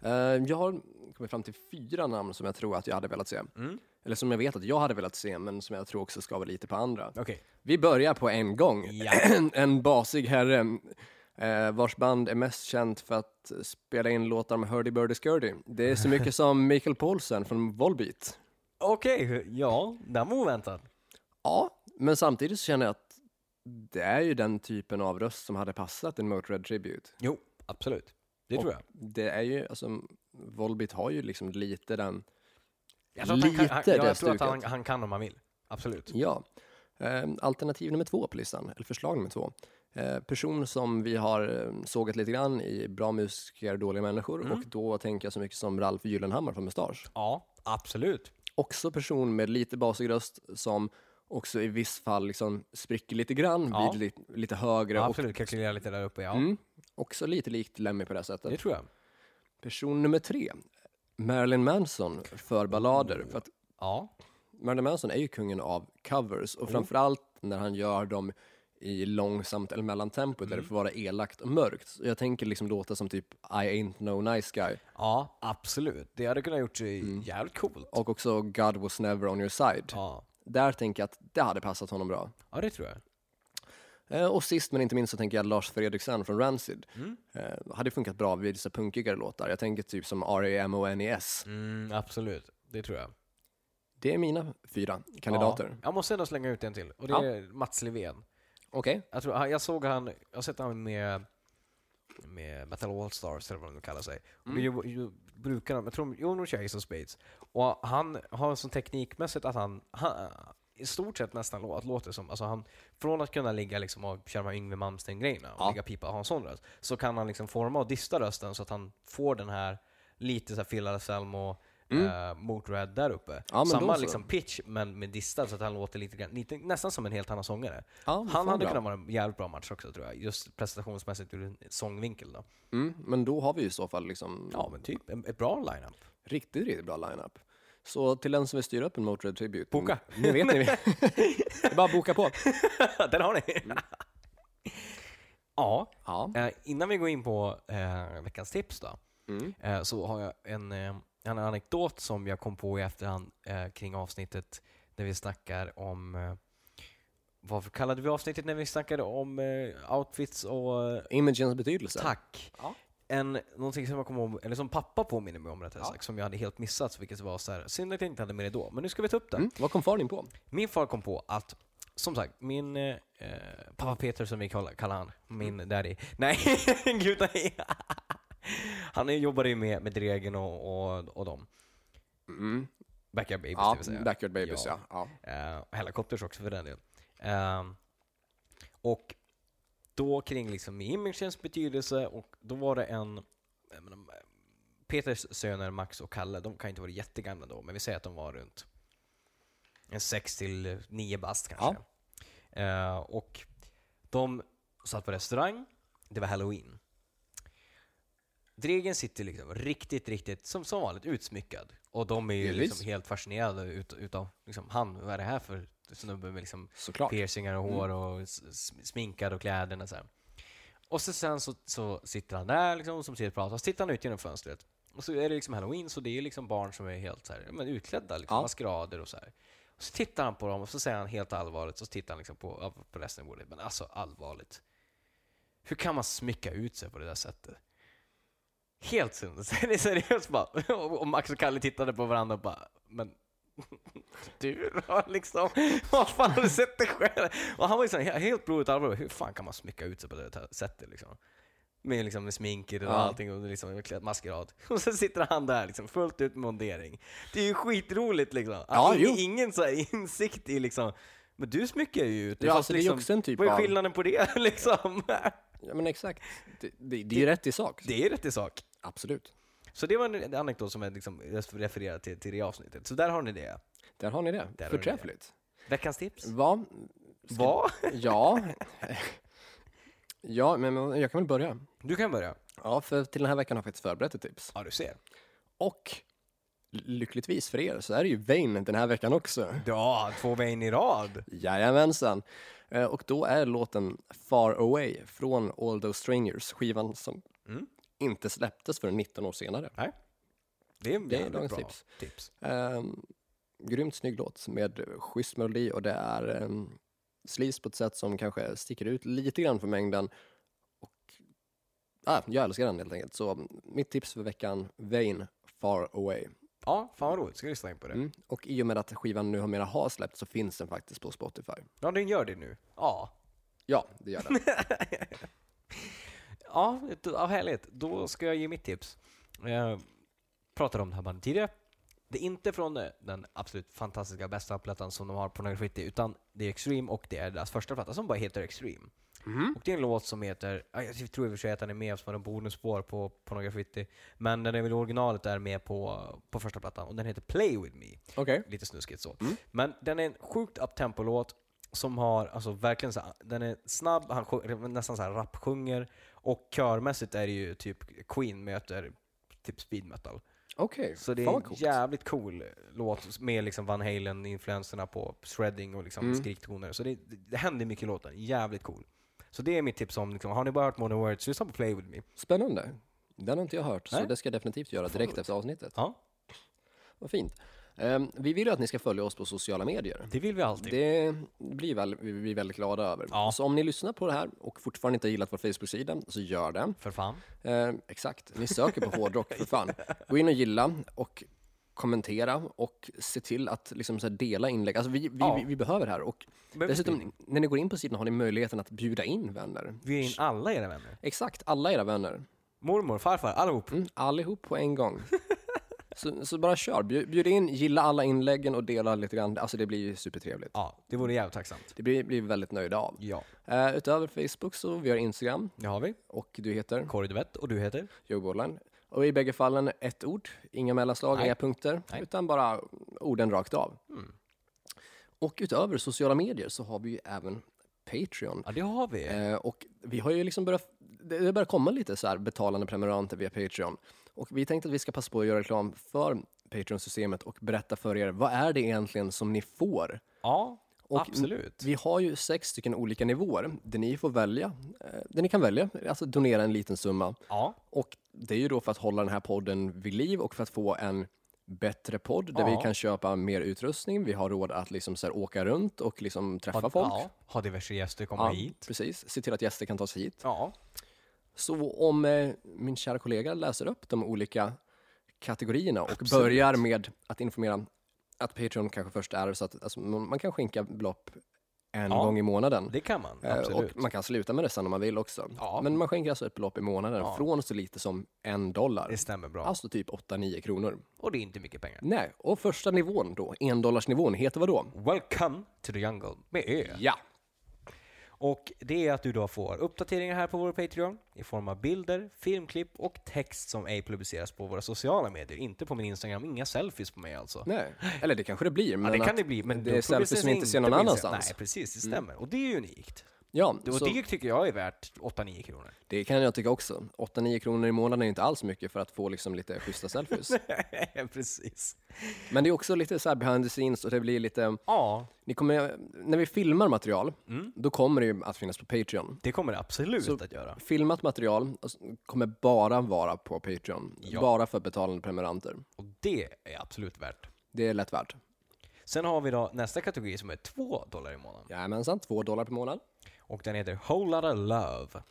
Eh, jag har kommit fram till fyra namn som jag tror att jag hade velat se. Mm. Eller som jag vet att jag hade velat se, men som jag tror också skaver lite på andra. Okej. Vi börjar på en gång. Ja. en basig herre eh, vars band är mest känt för att spela in låtar med Hurdy Burdy Skurdy. Det är så mycket som Michael Paulsen från Volbeat. Okej, ja. Den var oväntad. Ja, men samtidigt så känner jag att det är ju den typen av röst som hade passat en Motörhead Tribute. Jo, absolut. Det Och tror jag. Det är ju, alltså, Volbeat har ju liksom lite den, Jag tror att han, lite kan, han, det ja, jag tror att stuket. han, han kan om han vill. Absolut. Ja. Eh, Alternativ nummer två på listan, eller förslag nummer två. Eh, Person som vi har eh, sågat lite grann i Bra musiker, dåliga människor och då tänker jag så mycket som Ralf Gyllenhammar från Mustasch. Ja, absolut. Också person med lite basig röst som också i viss fall liksom spricker lite grann Ja. vid lite, lite högre och absolut. Kalkylera lite där uppe, ja. Mm. också lite likt Lemmy på det här Det sättet. tror jag. Person nummer tre, Marilyn Manson för Mm. ballader. För att Ja. Marilyn Manson är ju kungen av covers Mm. och framförallt när han gör dem i långsamt eller mellantempo Mm. där det får vara elakt och mörkt. Så jag tänker liksom låta som typ I ain't no nice guy Ja, absolut. Det hade kunnat gjort sig jävligt coolt. och också God was never on your side. Ja. Där tänker jag att det hade passat honom bra. ja, det tror jag. Eh, Och sist men inte minst så tänker jag Lars Fredriksen från Rancid. Eh, hade funkat bra vid så punkigare låtar. Jag tänker typ som R.A.M.O.N.E.S. Mm, absolut. Det tror jag. Det är mina fyra kandidater. Ja. Jag måste ändå slänga ut en till och det Ja. är Mats Levén. Okej. Jag, tror, han- jag såg han, jag har sett han med, med Metal Allstars eller vad de kallar sig. Och det Mm. ju- ju- brukar de, jag tror de, jo, de kör Ace of Spades. Och han har en sån teknikmässigt att han, han i stort sett nästan lå- att låter som, alltså han, från att kunna ligga liksom och köra de här Yngwie Malmsteen-grejerna och Ja. ligga och pipa och ha en sån röst, så kan han liksom forma och dista rösten så att han får den här lite såhär Phil Anselmo, Mm. eh, Motörhead där uppe. Ja, men då Samma så. liksom pitch, men med distad så att han låter lite, grann- lite nästan som en helt annan sångare. Ja, Han hade bra. kunnat vara en jävligt bra match också tror jag, just prestationsmässigt ur en sångvinkel då. Mm, men då har vi ju i så fall liksom Ja men typ, en, ett bra lineup. riktigt, riktigt bra lineup. Så till den som vill styra upp en Motörhead Tribute. Boka. Nu vet ni. det är bara att boka på. Den har ni! ja, Ja. eh, innan vi går in på eh, veckans tips då, Mm. eh, så har jag en, eh, en anekdot som jag kom på i efterhand eh, kring avsnittet där vi snackar om eh, varför kallade vi avsnittet när vi snackade om eh, outfits och eh, Imagens betydelse. Tack. Ja. En, någonting som jag kom ihåg, eller som pappa påminner mig om rättare Ja. sagt, som jag hade helt missat, vilket var så här, synd att jag inte hade med det då, men nu ska vi ta upp det. Mm. Vad kom far in på? Min far kom på att, som sagt, min eh, eh, pappa Peter som vi kallar, kallar han, min Mm. daddy. Nej, gud nej. Han jobbade ju med, med Dregen och, och, och dem. Mm. Backyard Babies, det Ja, vill säga. Backyard Babies, ja. ja. Eh, och helikopters också för den delen. Ehm, och då kring liksom imagens betydelse och då var det en, jag menar, Peters söner Max och Kalle, de kan inte vara jättegamla då, men vi säger att de var runt en 6 till 9 bast kanske. Eh, och de satt på restaurang, det var halloween. Dregen sitter liksom riktigt, riktigt som, som vanligt utsmyckad. Och de är ju Delvis. liksom helt fascinerade ut, utav liksom, han, vad är det här för snubbe med liksom Såklart. Mm. piercingar och hår och s- s- sminkad och kläderna så här. Och så sen så, så sitter han där liksom, som sitter och pratar, så tittar han ut genom fönstret. Och så är det liksom halloween, så det är liksom barn som är helt så här, men utklädda, liksom, Ja. maskerader och så här. Och så tittar han på dem och så säger han helt allvarligt, så tittar han liksom på, ja, på resten av bordet, men alltså allvarligt. Hur kan man smycka ut sig på det där sättet? Helt sinnes- det är seriöst bara. Och Max och Kalle tittade på varandra och bara, men du då liksom? Vad fan har du sett dig själv? Och han var liksom helt blodigt allvarlig. Hur fan kan man smycka ut sig på det här sättet liksom? Med, liksom, med sminket och Ja. allting och liksom, med klädd maskerad. Och så sitter han där liksom, fullt ut med mondering. Det är ju skitroligt liksom. Ja, Ingen- jo. ingen så här insikt i liksom, men du smyckar ju ut dig, Ja, fast alltså, det är ju liksom, också en typ Vad är av- skillnaden på det liksom? Ja, men exakt. Det, det, det är ju rätt i sak. Det är rätt i sak. Absolut. Så det var en anekdot som jag liksom refererar till, till det avsnittet. Så där har ni det. Där har ni det. Där har ni Förträffligt. Veckans tips. Va? Ska- Vad? Ja. ja, men men jag kan väl börja. Du kan börja. Ja, för till den här veckan har jag faktiskt förberett ett tips. Ja, du ser. Och lyckligtvis för er så är det ju Vain den här veckan också. Ja, två vein i rad. Jajamensan. Eh, Och då är låten Far Away från All Those Strangers, skivan som Mm. inte släpptes förrän 19 år senare. Det är, Det är jävligt dagens bra tips. tips. Um, grymt snygg låt med schysst melodi och det är um, sleaze på ett sätt som kanske sticker ut lite grann från mängden. Och, ah, jag älskar den helt enkelt. Så mm, mitt tips för veckan, Vain Far Away. Ja, fan vad roligt. Ska vi lyssna in på det? Mm. Och i och med att skivan nu mera har släppts så finns den faktiskt på Spotify. Ja, den gör det nu. Ja. Ja, det gör den. Ja, ett- ja, härligt. Då ska jag ge mitt tips. Jag pratade om det här bandet tidigare. Det är inte från eh, den absolut fantastiska bästa plattan som de har på Nagafiti, utan det är Extreme och det är deras första platta som bara heter Extreme. Och det är en låt som heter, ja, jag tror i och för sig att den är med som en bonusspår på Pornografiti, men den är väl originalet är med på, på första plattan och den heter Play With Me. Okej. lite snuskigt så. Mm. Men den är en sjukt uptempo-låt som har, alltså verkligen så här, den är snabb, han sjung- nästan så här rappsjunger och körmässigt är det ju typ Queen möter typ speed metal. Okej, Så det är fan vad en coolt. jävligt cool låt med liksom Van Halen-influenserna på shredding och Mm. liksom skriktoner. Så det, det händer mycket i låten, jävligt cool. Så det är mitt tips om, liksom, har ni bara hört Modern Words, lyssna på Play With Me. Spännande. Den har inte jag hört, så Nej. det ska jag definitivt göra direkt efter avsnittet. Ja, Vad fint. Ehm, vi vill ju att ni ska följa oss på sociala medier. det vill vi alltid. Det blir väl, vi blir väldigt glada över. typ. Ja. Så om ni lyssnar på det här och fortfarande inte har gillat vår Facebook-sida, så gör det. För fan. Ehm, exakt, ni söker på hårdrock för fan. Gå in och gilla och kommentera och se till att liksom så här dela inlägg. Alltså vi, vi, Ja. vi, vi behöver det här. Och Behöver dessutom, när ni går in på sidan har ni möjligheten att bjuda in vänner. Vi är in alla era vänner. Exakt, alla era vänner. Mormor, farfar, allihop. Mm, allihop på en gång. så, så bara kör. Bjud, bjud in, gilla alla inläggen och dela lite grann. Alltså det blir ju supertrevligt. Ja, det vore jävligt tacksamt. Det blir, blir vi väldigt nöjda av. Ja, Eh, utöver Facebook så vi har Instagram det har vi. och du heter Kåre Duvett och du heter? Joe Borland. Och i bägge fallen ett ord, inga mellanslag, Nej. inga punkter, Nej. Mm. utan bara orden rakt av. Och utöver sociala medier så har vi ju även Patreon. Ja, det har vi. Eh, och vi har ju liksom börjat, det det börjar komma lite så här betalande prenumeranter via Patreon. Och vi tänkte att vi ska passa på att göra reklam för Patreon-systemet och berätta för er vad är det egentligen som ni får? Ja, Och absolut. Vi har ju sex stycken olika nivåer där ni får välja, eh, där ni kan välja, alltså donera en liten summa. Ja, Och det är ju då för att hålla den här podden vid liv och för att få en bättre podd där Ja. vi kan köpa mer utrustning. Vi har råd att liksom så här åka runt och liksom träffa ha, folk. ja, ha diverse gäster komma Ja, hit. precis. Se till att gäster kan ta sig hit. Ja, Så om eh, min kära kollega läser upp de olika kategorierna och börjar med att informera att Patreon kanske först är så att alltså, man man kan skänka belopp en Ja. gång i månaden. det kan man. Eh, Absolut. Och man kan sluta med det sen om man vill också. Ja. Men man skänker alltså ett belopp i månaden Ja. från så lite som en dollar. Det stämmer bra. Alltså typ 8-9 kronor. Och det är inte mycket pengar. Nej, och första nivån då, endollarsnivån, heter vad då? Welcome to the jungle med Ö. Ja. Och det är att du då får uppdateringar här på vår Patreon i form av bilder, filmklipp och text som ej publiceras på våra sociala medier. Inte på min Instagram, inga selfies på mig alltså. Nej. Eller det kanske det blir. Men Ja, det att kan det bli, men det då är selfies publiceras som vi inte ser någon på Instagram. annanstans. Nej, precis, det stämmer. Och det är ju unikt. Ja, Och så det tycker jag är värt 8-9 kronor. det kan jag tycka också. 8-9 kronor i månaden är inte alls mycket för att få liksom lite schyssta selfies. precis. men det är också lite så här behind the scenes och det blir lite, Ja, ni kommer, när vi filmar material, Mm. då kommer det ju att finnas på Patreon. det kommer det absolut Så- att göra. Filmat material alltså, kommer bara vara på Patreon. Ja. Bara för betalande prenumeranter. Och det är absolut värt. Det är lätt värt. Sen har vi då nästa kategori som är 2 dollar i månaden. Jajamensan, 2 dollar per månad. Och den heter Whole Lotta Love.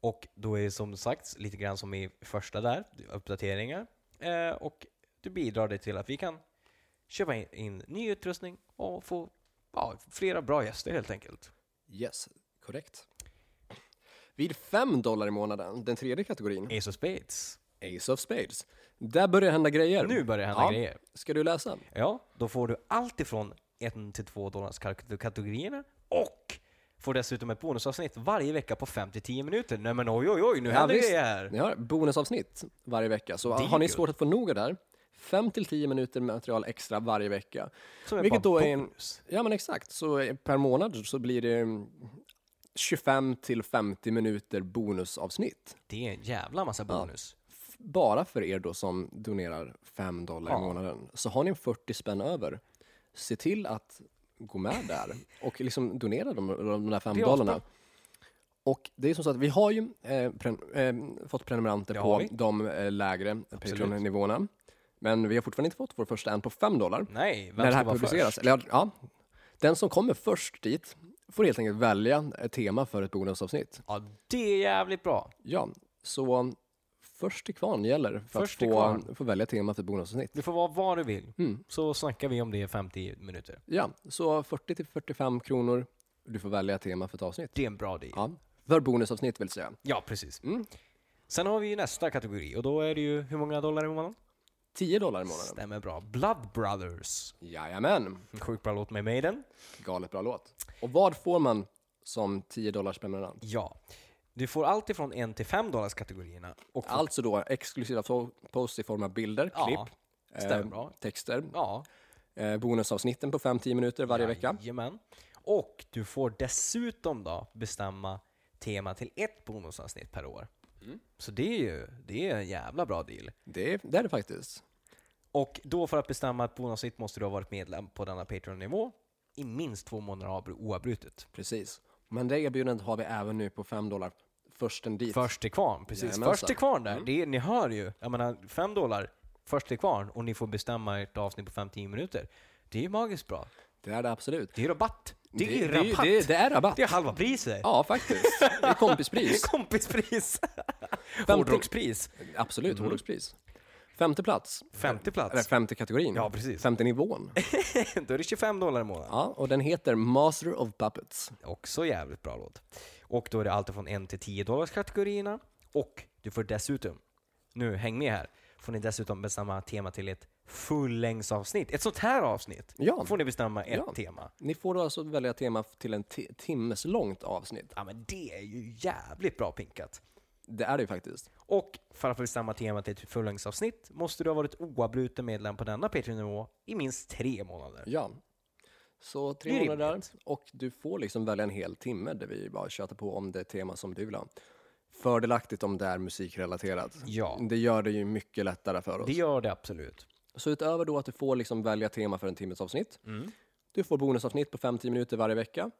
Och då är det som sagt lite grann som i första där, uppdateringar. Eh, och du bidrar det till att vi kan köpa in, in ny utrustning och få ja, flera bra gäster helt enkelt. Yes, korrekt. Vid 5 dollar i månaden, den tredje kategorin, Ace of Spades. Ace of Spades. Där börjar hända grejer. Nu börjar det hända Ja. grejer. Ska du läsa? Ja, då får du allt ifrån 1 till 2 dollars kate- kategorierna och får dessutom ett bonusavsnitt varje vecka på 5-10 minuter. Nej men oj oj oj, nu Ja, händer visst. grejer här! Ni har bonusavsnitt varje vecka, så Det är har ni kul. svårt att få nog av det här, 5-10 minuter material extra varje vecka. Som är Vilket bara då är en- bonus. Ja men exakt, så eh, per månad så blir det mm, 25 till 50 minuter bonusavsnitt. Det är en jävla massa bonus. F- Bara för er då som donerar 5 dollar Ja. i månaden. Så har ni 40 spänn över, se till att gå med där och liksom donera de, de där 5 Det är dollarna. asbra. Och det är som så att vi har ju eh, pren- eh, fått prenumeranter Det har på vi. de eh, lägre Patreon-nivåerna. Men vi har fortfarande inte fått vår första än på 5 dollar Nej, vem när det här ska vara publiceras. först? Eller, ja, den som kommer först dit får helt enkelt välja ett tema för ett bonusavsnitt. Ja, det är jävligt bra. Ja, så um, först till kvarn gäller för Först att till få, kvarn. få välja tema för ett bonusavsnitt. Du får vara vad du vill, Mm. så snackar vi om det i 50 minuter. Ja, så 40 till 45 kronor. Du får välja tema för ett avsnitt. Det är en bra deal. Ja, Ja, för bonusavsnitt vill säga. precis. Mm. Sen har vi ju nästa kategori och då är det ju hur många dollar i månaden? 10 dollar i månaden. Stämmer bra. Blood Brothers. Jajamän, En Sjukt bra låt med Maiden. galet bra låt. Och vad får man som 10 dollars prenumerant? Ja. Du får allt ifrån 1 till 5 dollars kategorierna. Och Alltså då exklusiva fo- posts i form av bilder, Ja, klipp, stämmer bra. texter, Ja, eh, bonusavsnitten på 5-10 minuter varje vecka. Jajamän. Och du får dessutom då bestämma tema till ett bonusavsnitt per år. Mm. Så det är ju det är en jävla bra deal. Det, är- det är det faktiskt. Och då för att bestämma ett bonusavsnitt måste du ha varit medlem på denna Patreon-nivå i minst två månader avbru- oavbrutet. Precis. Men det erbjudandet har vi även nu på 5 dollar. Försten dit. Först till kvarn, precis. Jajamensan. Mm. Först till kvarn där. Det, är- ni hör ju, jag menar fem dollar, först till kvarn och ni får bestämma ert avsnitt på 5-10 minuter. Det är ju magiskt bra. Det är det absolut. Det är rabatt. Det, är ju det, rabatt. det, det är rabatt. det är halva priset. Ja, faktiskt. Det är kompispris. Kompispris. Hårdrockspris. Absolut, hårdrockspris. Femte plats. Femte Eller Mhm. plats. femte kategorin. Ja, precis. Femte nivån. Då är det 25 dollar i månaden. Ja, och den heter Master of Puppets. Också jävligt bra låt. Och då är det allt från 1 till 10 dollars kategorierna. Och du får dessutom, nu häng med här, får ni dessutom bestämma tema till ett fullängdsavsnitt. Ett sånt här avsnitt Ja. får ni bestämma ett Ja. tema. Ni får då alltså välja tema till en ti- timmes långt avsnitt. Ja men det är ju jävligt bra pinkat. Det är det ju faktiskt. Och för att få samma tema till ett fullängdsavsnitt måste du ha varit oavbruten medlem på denna Patreon-nivå i minst tre månader. Ja. Så tre Det är månader där. rimligt. Och du får liksom välja en hel timme där vi bara tjatar på om det tema som du vill ha. Fördelaktigt om det är musikrelaterat. Ja, Det gör det ju mycket lättare för oss. det gör det absolut. Så utöver då att du får liksom välja tema för en timmes avsnitt. Mm. Du får bonusavsnitt på 5-10 minuter varje vecka.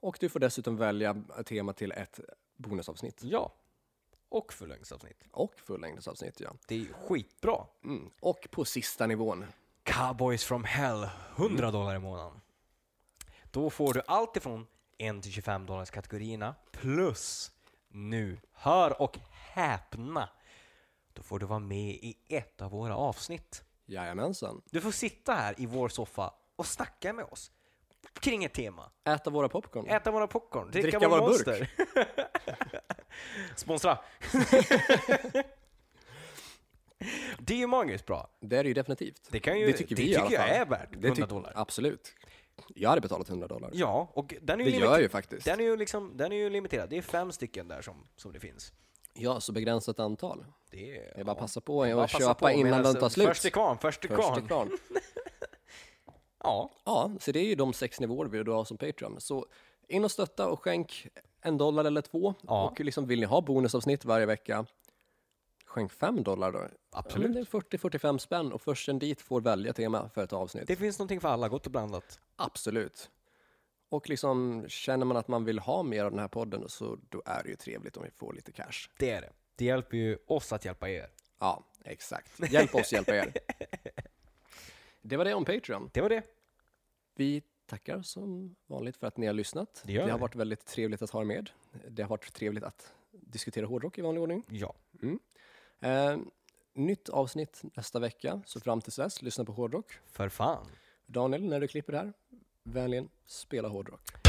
Och du får dessutom välja tema till ett bonusavsnitt. Ja. Och fullängdsavsnitt. Och fullängdsavsnitt, ja. Det är ju skitbra. Mm. Och på sista nivån. Cowboys from hell, 100 dollar i månaden. Då får du allt ifrån 1 till 25 dollars kategorierna plus nu, hör och häpna, då får du vara med i ett av våra avsnitt. Jajamensan. Du får sitta här i vår soffa och snacka med oss kring ett tema. Äta våra popcorn. Äta våra popcorn, dricka, Dricka vår vår burk. monster. Sponsra! Det är ju magiskt bra. Det är det ju definitivt. Det kan ju- det i tycker alla jag fall. är värt Det 100 tyck- dollar. Absolut. Jag hade betalat 100 dollar. Ja, och den är Det ju gör jag ju faktiskt. Den är ju, liksom, den är ju limiterad. Det är fem stycken där som, som det finns. Ja, så begränsat antal. Det är, Det är bara att passa på och bara passa köpa på innan medan- den tar slut. Först till kvarn, först till Först kvarn. till kvarn. Ja, Ja, så det är ju de sex nivåer vi då har som Patreon. Så in och stötta och skänk en dollar eller två. Ja. Och liksom vill ni ha bonusavsnitt varje vecka, skänk fem dollar då. Ja, men absolut. det är 40-45 spänn och försten dit får välja tema för ett avsnitt. Det finns någonting för alla, gott och blandat. Absolut. Och liksom känner man att man vill ha mer av den här podden så då är det ju trevligt om vi får lite cash. Det är det. Det hjälper ju oss att hjälpa er. Ja, exakt. Hjälp oss hjälpa er. Det var det om Patreon. Det var det. Vi tackar som vanligt för att ni har lyssnat. Det gör har vi. varit väldigt trevligt att ha er med. Det har varit trevligt att diskutera hårdrock i vanlig ordning. Ja. Eh, nytt avsnitt nästa vecka, så fram tills dess, lyssna på hårdrock. För fan. Daniel, när du klipper det här, vänligen spela hårdrock.